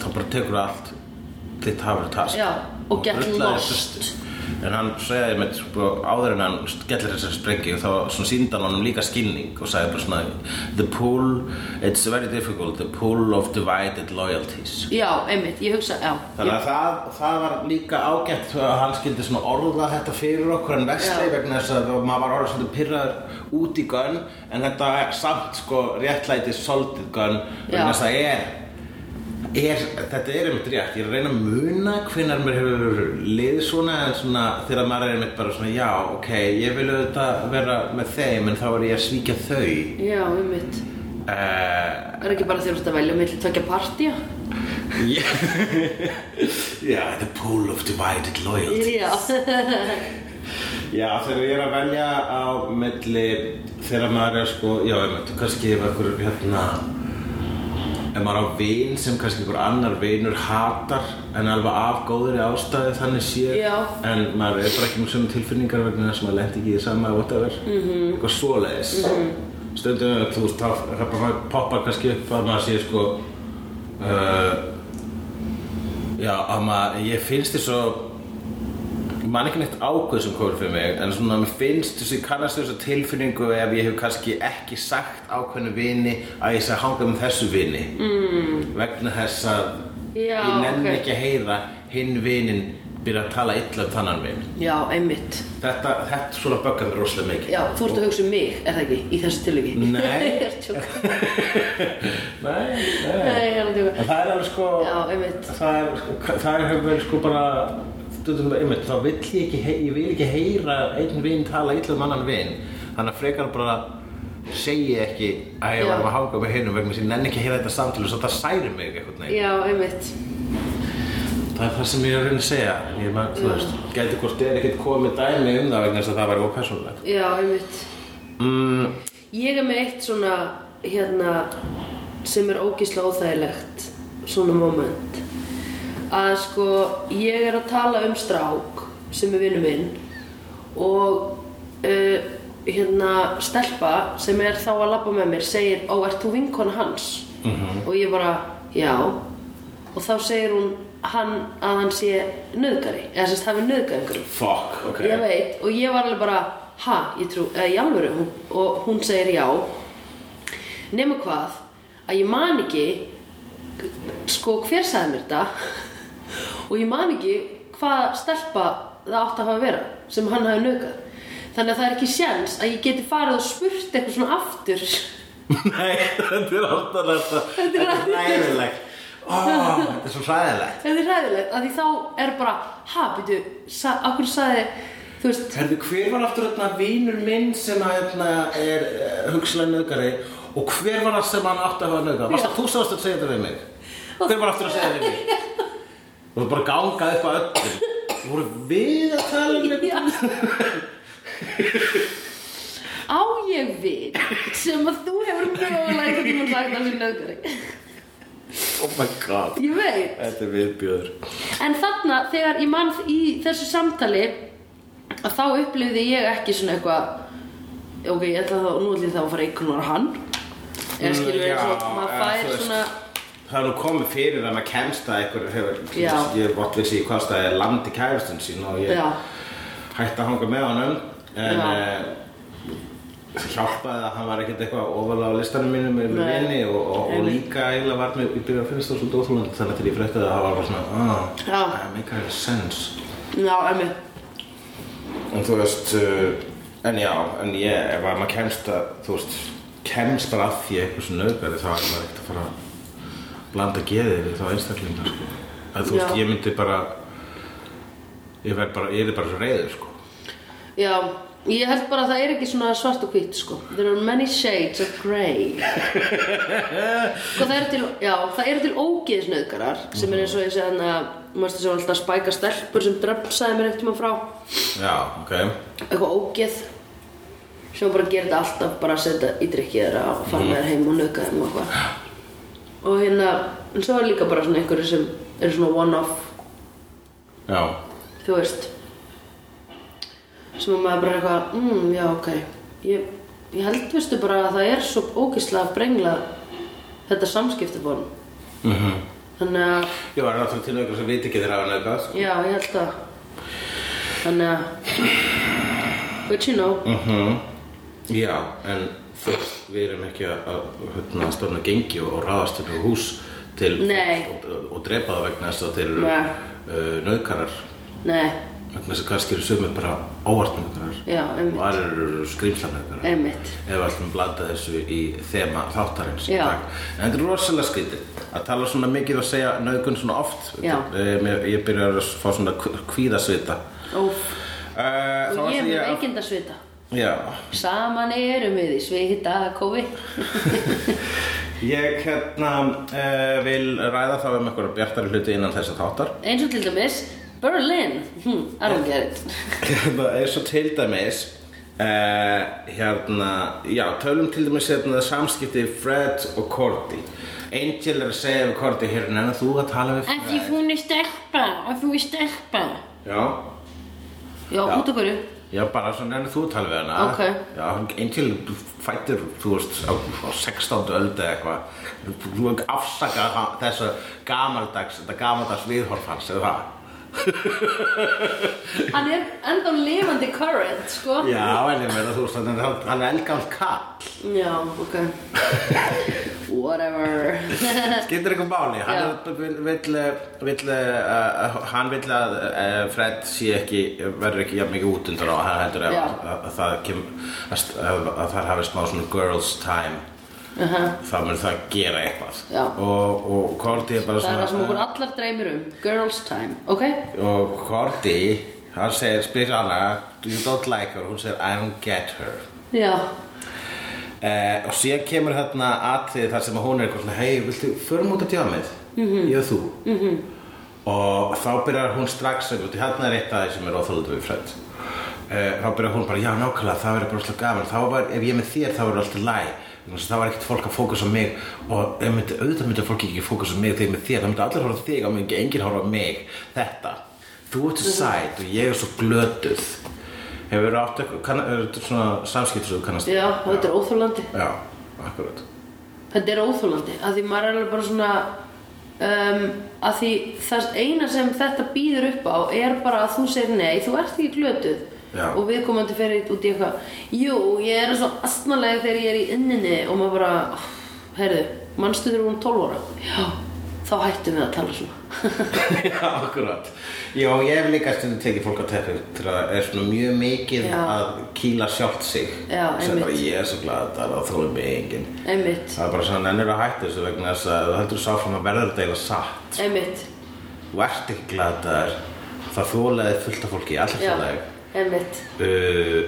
Speaker 3: þá bara tekur allt þitt hafur task
Speaker 1: Já, og get
Speaker 3: drullaði
Speaker 1: lost.
Speaker 3: þessu- en hann segði með sko, áður en hann skellir þessar sprengi þá svona síndan honum líka skilning og sagði bara svona the pull, it's very difficult the pull of divided loyalties
Speaker 1: já, einmitt, ég hugsa, já
Speaker 3: Þannig að það, það var líka ágætt að hann skildi svona orða þetta fyrir okkur en vestli
Speaker 1: Já.
Speaker 3: vegna þess að maður var orða svona pyrraður út í gönn en þetta er samt sko réttlæti soldið gönn
Speaker 1: Já.
Speaker 3: vegna þess að er, er þetta er einmitt rétt, ég er að reyna að muna hvenar mér hefur lið svona en svona þegar maður er einmitt bara svona já ok, ég vil auðvitað vera með þeim en þá er ég að svíkja þau
Speaker 1: Já, einmitt
Speaker 3: uh,
Speaker 1: Er ekki bara þegar þú ert að velja millir tvekja partíja?
Speaker 3: yeah. yeah, the pull of divided loyalty
Speaker 1: Já.
Speaker 3: Já, þegar ég er að velja á milli þegar maður er sko, já, ég veit, kannski ef einhver, hérna, ef maður á vin sem kannski einhver annar vinur hatar en alveg afgóður í ástæði þannig séð
Speaker 1: Já.
Speaker 3: en maður er bara ekki með sömu tilfinningar vegna þess að maður lendi ekki í sama whatever, mm -hmm. eitthvað svoleiðis stundum við, þú veist, þá það bara poppar kannski upp að maður sé sko uh, já, að maður, ég finnst þér svo man ekki neitt ákveð sem komur fyrir mig en svona mér finnst þessi kannast þessu tilfinningu ef ég hef kannski ekki sagt ákveðnu vini að ég sé að hanga með þessu vini mm. vegna þess að
Speaker 1: Já,
Speaker 3: ég nenni
Speaker 1: ok.
Speaker 3: ekki að heyra hinn vinin byrja að tala illa um þannan vin
Speaker 1: Já, einmitt.
Speaker 3: þetta, þetta svona böggar mér rosalega mikið
Speaker 1: Já, þú ert að hugsa um mig, er það ekki, í þessu tilviki?
Speaker 3: Nei.
Speaker 1: ég er tjók.
Speaker 3: nei,
Speaker 1: Nei, ég er að tjóka.
Speaker 3: En það er alveg sko
Speaker 1: Já, einmitt.
Speaker 3: Það er, sko, það er hefur verið sko bara stundum, einmitt, þá vill ég ekki hei- ég vil ekki heyra einn vin tala illa um annan vin þannig að frekar bara segi ég ekki að ég
Speaker 1: Já.
Speaker 3: var að hanga með hinum vegna sem ég nenni ekki að heyra þetta samtölu svo það særi mig eitthvað neginn
Speaker 1: Já, einmitt.
Speaker 3: það er það sem ég er að reyna að segja ég er maður, þú veist, gæti hvort er ekkert komið dæmi um það vegna þess að það væri ópersónulegt
Speaker 1: Já, einmitt.
Speaker 3: mm,
Speaker 1: Ég er með eitt svona, hérna, sem er ógísla óþægilegt, svona moment. að sko ég er að tala um strák sem er vinnu minn og uh, hérna stelpa sem er þá að labba með mér segir ó, ert þú vinkona hans? og ég bara, já og þá segir hún hann að hann sé nöðgari eða sem sagt hafi nöðgaringur
Speaker 3: Fuck, ok
Speaker 1: ég veit, og ég var alveg bara ha, ég trú, eða í alvöru hún, og hún segir já nema hvað, að ég man ekki sko hver sagði mér þetta og ég man ekki hvað stelpa það átti að hafa að vera sem hann hafi nöðgað þannig að það er ekki séns að ég geti farið og spurt eitthvað svona aftur
Speaker 3: Nei, þetta er alltaf þetta
Speaker 1: Þetta er
Speaker 3: Þetta er ræðilegt Ó, þetta er svo ræðilegt
Speaker 1: þetta er hræðilegt, að því þá er bara ha, býtu, sa, akkur sagði þú veist,
Speaker 3: Herðu, hver var aftur þarna vínur minn sem að hérna er uh, hugsalega nöðgari og hver var það sem hann átti að hafa nöðgara? Varst það þú sem varst að segja þetta við mig? Hver var aftur að segja þetta við mig? Þú voru bara gangað upp að öllu. Voru við að tala um þetta?
Speaker 1: á ég við sem að þú hefur mögulega einhvern tímann sagt að sé nöðgari
Speaker 3: Oh my god.
Speaker 1: ég veit
Speaker 3: Þetta er viðbjöður.
Speaker 1: en þarna þegar ég mann í þessu samtali að þá upplifði ég ekki svona eitthvað ok, ég ætla þá, nú ætla ég þá að fara einhvern á hann eða skilur við eins og maður fær svona
Speaker 3: Það er nú komið fyrir að maður kemst að einhver hefur,
Speaker 1: Já.
Speaker 3: ég er bort vissi í hvað staði er landi kærastinn sín og ég
Speaker 1: Já.
Speaker 3: hætti að hanga með honum en
Speaker 1: Já.
Speaker 3: uh, hjálpaði að hann var ekkert eitthvað ofalega á listanum mínum með
Speaker 1: Nei.
Speaker 3: minni og, og, og
Speaker 1: Einmitt.
Speaker 3: líka eiginlega var mér, ég byrjaði að finnst það svolítið óþúlund þannig til ég fréttaði að það var bara svona, ah,
Speaker 1: Já.
Speaker 3: that make a sense
Speaker 1: já, emmi
Speaker 3: En þú veist, uh, en já, en ég, ef að maður kemst að, þú veist, kemst bara að því eitthvað sem nöðgari þá er maður ekkert að fara að blanda geðið við þá einstaklinga, sko. Að þú veist,
Speaker 1: Já.
Speaker 3: ég myndi bara, ég verð bara, ég er bara svo reyður, sko.
Speaker 1: já, ég held bara að það er ekki svona svart og hvitt sko there are many shades of grey sko það eru til já, það eru til ógeðsnöðgarar sem er eins og ég segi hann að maður sem var alltaf að spæka stelpur sem drefnsaði mér einhvern tímann frá
Speaker 3: Já, ok.
Speaker 1: eitthvað ógeð sem bara gerir þetta alltaf bara að setja í drikkið þeirra og fara með þér heim og nauka þeim og eitthvað og hérna, en svo er líka bara svona einhverju sem er svona one-off
Speaker 3: Já.
Speaker 1: þú veist sem að maður bara eitthvað mm, já, ok ég, ég held veistu bara að það er svo ógeðslega að brengla þetta samskipti von
Speaker 3: Mm -hmm.
Speaker 1: þannig að,
Speaker 3: Ég var náttúrulega til nöðgar sem viti ekki þeirra að nöðgast, sko.
Speaker 1: já, ég held að þannig að but you know
Speaker 3: Mhm. Já, en þú veist, við erum ekki að, að hérna, stofna gengi og, og ráðast til hús til
Speaker 1: Nei.
Speaker 3: og, og, og drepa það vegna þess að þeir eru
Speaker 1: Nei.
Speaker 3: uh, nöðkarar
Speaker 1: nei,
Speaker 3: vegna þess að kannski eru sömu bara óvart nöðkarar
Speaker 1: já,
Speaker 3: og
Speaker 1: einmitt,
Speaker 3: aðrir eru skrýmsla nöðkarar
Speaker 1: einmitt
Speaker 3: ef við ætlum að blanda þessu í þema þáttarins í
Speaker 1: Já.
Speaker 3: dag. en þetta er rosalega skrítið að tala svona mikið og segja nöðgun svona oft
Speaker 1: Já.
Speaker 3: Eh, mér- ég byrja að fá svona kvíðasvita
Speaker 1: Óf,
Speaker 3: uh,
Speaker 1: og ég er með veikindasvita
Speaker 3: já,
Speaker 1: Saman erum við í svita kófi
Speaker 3: Ég hérna uh, vil ræða þá um einhverja bjartari hluti innan þessa þáttar
Speaker 1: Eins og til dæmis Berlin hm, I don't get it
Speaker 3: Það er svo Hérna, til dæmis uh, hérna, já, tölum til dæmis hérna samskipti Fred og Cordy Angel er að segja við Cordy hérna, en þú að tala við
Speaker 1: Af því hún er stelpa Af því hún er stelpa
Speaker 3: Já,
Speaker 1: Já, út af hverju
Speaker 3: já, bara svona en þú að tala við hana
Speaker 1: Ok.
Speaker 3: Já, hann- Angel fættir, þú veist, á, á 16. öldu eða eitthvað Þú afsaka þessu gamaldags, þetta gamaldags viðhorf hans, eða það
Speaker 1: Hann er ennþá lifandi current, sko
Speaker 3: Já, en ég meina þú veist, hann er, hann er eldgamall kall.
Speaker 1: Já, ok Whatever
Speaker 3: Skiptir eitthvað máli, hann er- vill, vill, vill, uh, hann vill að uh, Fred sé ekki, verður ekki jafn mikið útundur á, hann heldur að,
Speaker 1: Já.
Speaker 3: að, að það kem, að, st- að, að það hafi smá svona girls time,
Speaker 1: uh
Speaker 3: þá mun það gera eitthvað.
Speaker 1: Já.
Speaker 3: Og, og Korti er
Speaker 1: Það
Speaker 3: bara
Speaker 1: er
Speaker 3: svona...
Speaker 1: það sem okkur allar dreymir um Girls time, ok?
Speaker 3: Og Korti, hann segir, spyr hana, you don't like her, hún segir, I don't get her.
Speaker 1: Já
Speaker 3: Eh, og síðan kemur hérna atrið þar sem að hún er eitthvað svona hei, viltu, förum út að djámið
Speaker 1: Mhm.
Speaker 3: -hmm. ég og þú -hmm. og þá byrjar hún strax að hérna er eitt aðeins sem er óþólandi við Fred eh, þá byrjaði hún bara, já nákvæmlega, það verður bara alltaf gaman þá var, ef ég er með þér, þá verður alltaf læg þá var ekkert fólk að fókusa á mig og ef myndi, auðvitað myndi fólk ekki fókusa á mig þegar ég er með þér, þá myndi allir horfa á þig á mig enginn horfa á mig, þetta þú ert
Speaker 1: Mhm.
Speaker 3: svo sæt og ég er svo glötuð hefur verið átt eitthvað kann- eru svona samskipt sem þú kannast
Speaker 1: Já, þetta er óþólandi
Speaker 3: já, akkurat
Speaker 1: Þetta er óþólandi að því maður er alveg bara svona um, að því það eina sem þetta býður upp á er bara að þú segir nei, þú ert ekki glötuð
Speaker 3: Já.
Speaker 1: og viðkomandi fyrir út í eitthvað Jú, ég er svo astnalega þegar ég er í inninni og maður bara oh, heyrðu, mannstu þegar hún 12 ára Já, þá hættum við að tala svona
Speaker 3: Já, akkurat. Já, ég hef líka stundum tekið fólk á teppið til að það er svona mjög mikið
Speaker 1: Já.
Speaker 3: að kýla sjálft sig.
Speaker 1: Já,
Speaker 3: Sem bara
Speaker 1: einmitt.
Speaker 3: ég er svo glad að það er að þóla mig enginn.
Speaker 1: Einmitt,
Speaker 3: Það er bara svona ennur að hætta þessu vegna þess að þú heldur sá fram að verður þetta eiginlega satt.
Speaker 1: einmitt
Speaker 3: Þú ert ekki glad að það er, það þólaði fullt af fólki, allir
Speaker 1: Já,
Speaker 3: þólaði.
Speaker 1: einmitt
Speaker 3: Uh,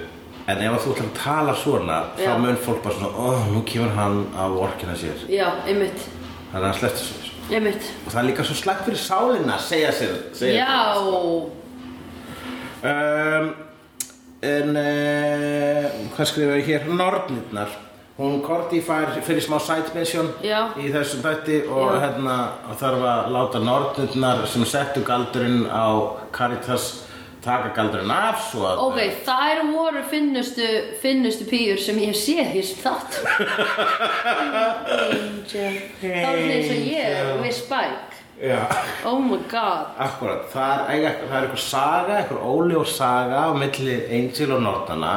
Speaker 3: en ef þú ætlar að tala svona,
Speaker 1: Já.
Speaker 3: þá mun fólk bara svona, ó, nú kemur hann að orkina sér.
Speaker 1: Já, einmitt,
Speaker 3: Það er að slefta sér.
Speaker 1: einmitt
Speaker 3: Og það er líka svo slæmt fyrir sálina að segja sér. Segja
Speaker 1: Já,
Speaker 3: um, En uh, hvað skrifaði ég hér? Nornirnar Hún Korti fær fyrir smá sætmissjón
Speaker 1: Já.
Speaker 3: í þessum þætti og
Speaker 1: Já.
Speaker 3: hérna þarf að láta nornirnar sem settu galdurinn á Caritas taka galdurinn af svo að
Speaker 1: ok, þær voru finnustu, finnustu pýjur sem ég sé hér sem þátt Angel Það var svona eins og ég
Speaker 3: Angel.
Speaker 1: við Spike
Speaker 3: Já,
Speaker 1: Oh my god
Speaker 3: akkurat, það er, eiga- það er eitthvað saga, eitthvað óljós saga á milli Angel og Nornana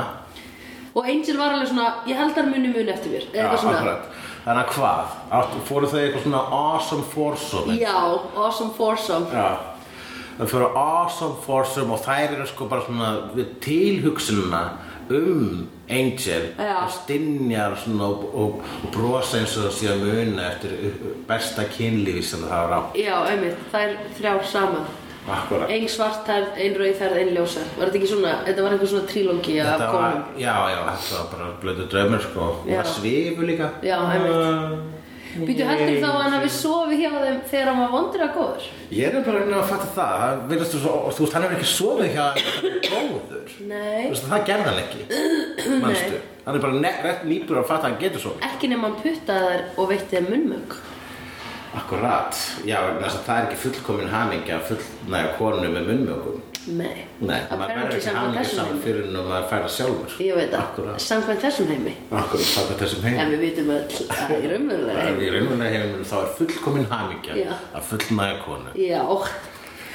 Speaker 1: Og Angel var alveg svona, ég held að muni muni eftir mér eða Eitthvað svona
Speaker 3: akkurat Þannig að hvað? Áttu- Fóru þau í eitthvað svona awesome foursome?
Speaker 1: Já, awesome foursome
Speaker 3: Já Það fyrir awesome foursome og þær eru sko bara svona við tilhugsunina um Angel
Speaker 1: Já.
Speaker 3: og stinjar svona og, og, og brosa eins og það sé að muna eftir besta kynlífi sem það var á
Speaker 1: Já, einmitt, þær þrjár saman
Speaker 3: Akkurat
Speaker 1: Ein svartærð, ein rauðærð, ein ljósærð Var þetta ekki svona, þetta var einhver svona trílógi af
Speaker 3: Þetta var,
Speaker 1: konum
Speaker 3: já, já, þetta var bara blödu draumur sko og
Speaker 1: Já.
Speaker 3: það svifu líka Eh,
Speaker 1: Já,
Speaker 3: einmitt
Speaker 1: Býtu heldur þá að hann hafi sofið hjá þeim þegar hann var vondur að góður?
Speaker 3: Ég er bara að reyna að fatta það, það virðast þú svo, og þú veist, hann hefur ekki sofið hjá þér, hann er góður Þú
Speaker 1: Nei.
Speaker 3: veist, það gerði hann ekki, mannstu. Hann er bara ne- rétt nýpur að fatta að hann getur svo.
Speaker 1: Ekki nema hann puttaði þær og veitti þeim munnmögg.
Speaker 3: Akkurát, já, vegna þess að það er ekki fullkomin hamingja að fullnæga konu með munnmjögum.
Speaker 1: Nei.
Speaker 3: Nei, maður verður
Speaker 1: Apparently
Speaker 3: ekki
Speaker 1: samkvæmt
Speaker 3: hamingja
Speaker 1: þessum
Speaker 3: saman
Speaker 1: heimi.
Speaker 3: fyrir en maður færa sjálfur.
Speaker 1: Ég veit það.
Speaker 3: Akkurát,
Speaker 1: Samkvæmt þessum heimi.
Speaker 3: akkurát, það er þessum heim.
Speaker 1: En við vitum öll að í raunverulega
Speaker 3: Það er
Speaker 1: heimi.
Speaker 3: í raunverulega heiminu, þá er fullkomin hamingja
Speaker 1: Já.
Speaker 3: að fullnæga konu.
Speaker 1: Já.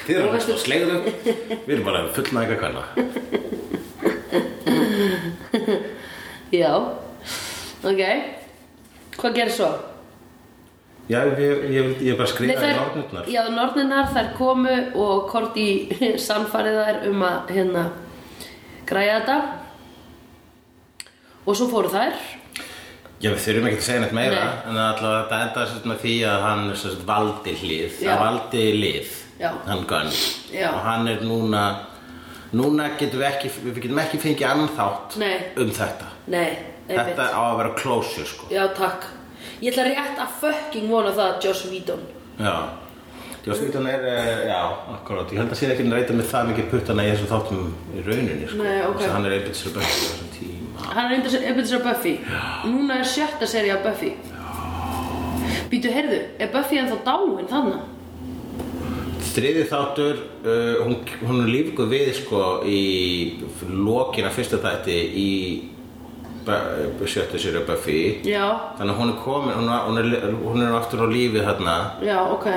Speaker 3: Þið
Speaker 1: Og
Speaker 3: erum
Speaker 1: veistu-
Speaker 3: ekki slegðu, við erum bara að fullnæga kona.
Speaker 1: Já. Ok. Hvað gerir svo?
Speaker 3: Já, ég, ég, ég bara skrifaði
Speaker 1: þær,
Speaker 3: nornirnar.
Speaker 1: já, nornirnar þær komu og Korti sannfærið þær um að hérna græja þetta og svo fóru þær
Speaker 3: Já, við þurfum ekki að segja neitt meira
Speaker 1: Nei.
Speaker 3: en allavega þetta endaði sérst með því að hann sérst, valdi hlið,
Speaker 1: Já.
Speaker 3: það valdi lið,
Speaker 1: Já.
Speaker 3: hann Gunn
Speaker 1: Já.
Speaker 3: og hann er núna, núna getum við ekki, við getum ekki fengið annan þátt
Speaker 1: Nei.
Speaker 3: um þetta.
Speaker 1: Nei, einmitt.
Speaker 3: Þetta á að vera closure sko.
Speaker 1: Já, takk. Ég ætla rétt að fucking vona það að Joss Whedon.
Speaker 3: Já. Jósvítan er, eh, já, akkurát, ég held að sé ekki hann reyta með það mikið puttana í þessum þáttum í rauninni sko.
Speaker 1: Nei, ok.
Speaker 3: Þess að hann er einbætt sér bætt í þessum tíma.
Speaker 1: Hann er einnig að sér Buffy. Núna er sjötta serið af Buffy. Býtu, heyrðu, er Buffy ennþá dáin þannig?
Speaker 3: Þriði þáttur, uh, hún, hún er lífguð við sko í lokina fyrsta þætti í Bu- sjöttu sér að Buffy.
Speaker 1: Já,
Speaker 3: Þannig að hún er komin, hún, var- hún, er, hún er aftur á lífi þarna.
Speaker 1: já, ok.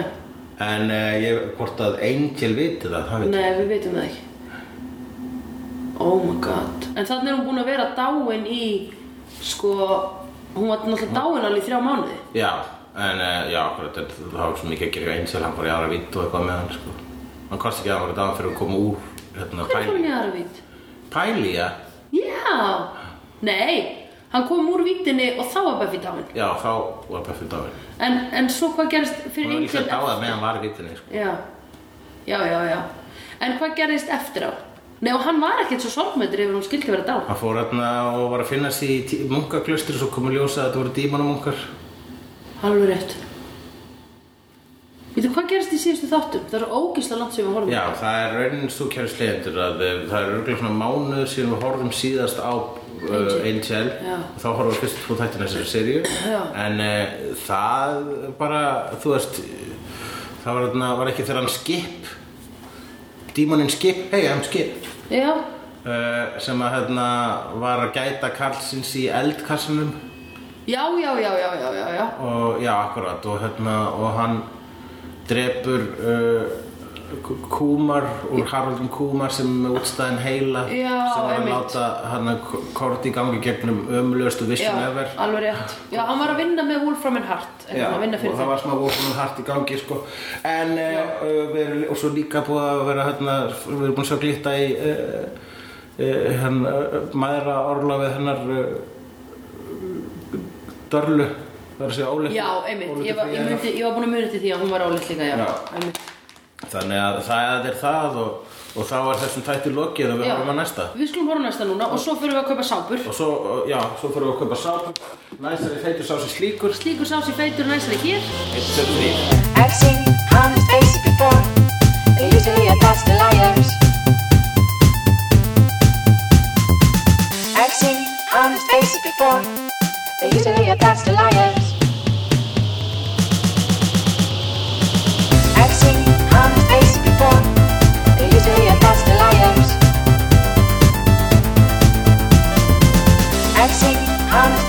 Speaker 3: En uh, ég, hvort að Angel viti það, það veit.
Speaker 1: Nei, við veitum það ekki. Oh my god. En þannig er hún búin að vera dáin í, sko, hún var náttúrulega dáin alveg í þrjá mánuði.
Speaker 3: Já, en uh, já, akkurat, en það var svo mikið að gera hjá Angel, hann bara í aðra vitt og eitthvað með hann sko. Hann kosti ekki að hann var dáðan fyrir að koma úr hérna
Speaker 1: Hvað er
Speaker 3: pæli.
Speaker 1: hún í aðra vít?
Speaker 3: Pæli, já.
Speaker 1: Já, nei, hann kom úr vítinni og þá var Buffy dáin.
Speaker 3: Já, þá var Buffy dáðin.
Speaker 1: En, en svo hvað gerist
Speaker 3: Hún
Speaker 1: fyrir
Speaker 3: var líka
Speaker 1: Angel
Speaker 3: dáðað meðan hann var í vittinni sko.
Speaker 1: Já, já, já, já En hvað gerist eftir á? Nei, og hann var ekkert svo sorgmættur yfir hún skildi vera dán
Speaker 3: Hann fór hérna og var að finna sig í tí- munkaklaustri svo kom að ljósa að þetta voru dímanamunkar.
Speaker 1: Alveg rétt Veitu, hvað gerist í síðustu þáttum? Það er ógisla langt sem við horfum
Speaker 3: Já,
Speaker 1: á.
Speaker 3: það er raunin svo kæri slegjendur að eh, það er örgulega svona mánuður síðan við horfum síðast á uh,
Speaker 1: Angel.
Speaker 3: Angel
Speaker 1: Já.
Speaker 3: og þá horfum við fyrst tvo þættin þessari seríu
Speaker 1: Já.
Speaker 3: en uh, það bara, þú veist það var, þarna- var ekki þegar hann skip dímoninn skip, hei, hann skip
Speaker 1: Já,
Speaker 3: uh, sem að hérna var að gæta karlsins í eldkassanum
Speaker 1: já, já, já, já, já, já, já.
Speaker 3: og já, akkurat og hérna, og hann drepur uh, K- Kúmar úr Haraldin Kúmar sem er útstæðin heila
Speaker 1: Já,
Speaker 3: sem var að
Speaker 1: einmitt.
Speaker 3: láta hann að Korti gangi gegnum ömulegustu
Speaker 1: Já,
Speaker 3: vissin ever
Speaker 1: alveg rétt. Já, hann var að vinna með Wolfram and Hart. En
Speaker 3: Já,
Speaker 1: hann var að vinna
Speaker 3: og
Speaker 1: fyrir
Speaker 3: það
Speaker 1: þeim.
Speaker 3: var smá vókunum hart í gangi sko. en uh, við erum, og svo líka búið að vera hérna, við erum búin að sjá glitta í uh, uh, hann, uh, maðra orlafið hennar uh, dörlu það er að segja óleitt
Speaker 1: Já, einmitt. Ég var, ég, myndi, ég var búin að muni til því að hún var áleitt líka, já.
Speaker 3: Já.
Speaker 1: Einmitt.
Speaker 3: þannig að það er það og, og þá er þessum tætti lokið og við
Speaker 1: Já.
Speaker 3: horfum að næsta
Speaker 1: Við skulum horfa á næsta núna og svo fyrir við að kaupa sápur.
Speaker 3: og svo, uh, já, svo þurfum við að kaupa sápu næstari feitur sá sem slíkur
Speaker 1: Slíkur sás í feitur næstari hér.
Speaker 3: 1, 2, 3
Speaker 2: I've seen honest faces before. They're usually a past liars. I've seen honest faces before. They're usually a past liars. I've seen honest faces before. They're usually a past liars. I've seen honest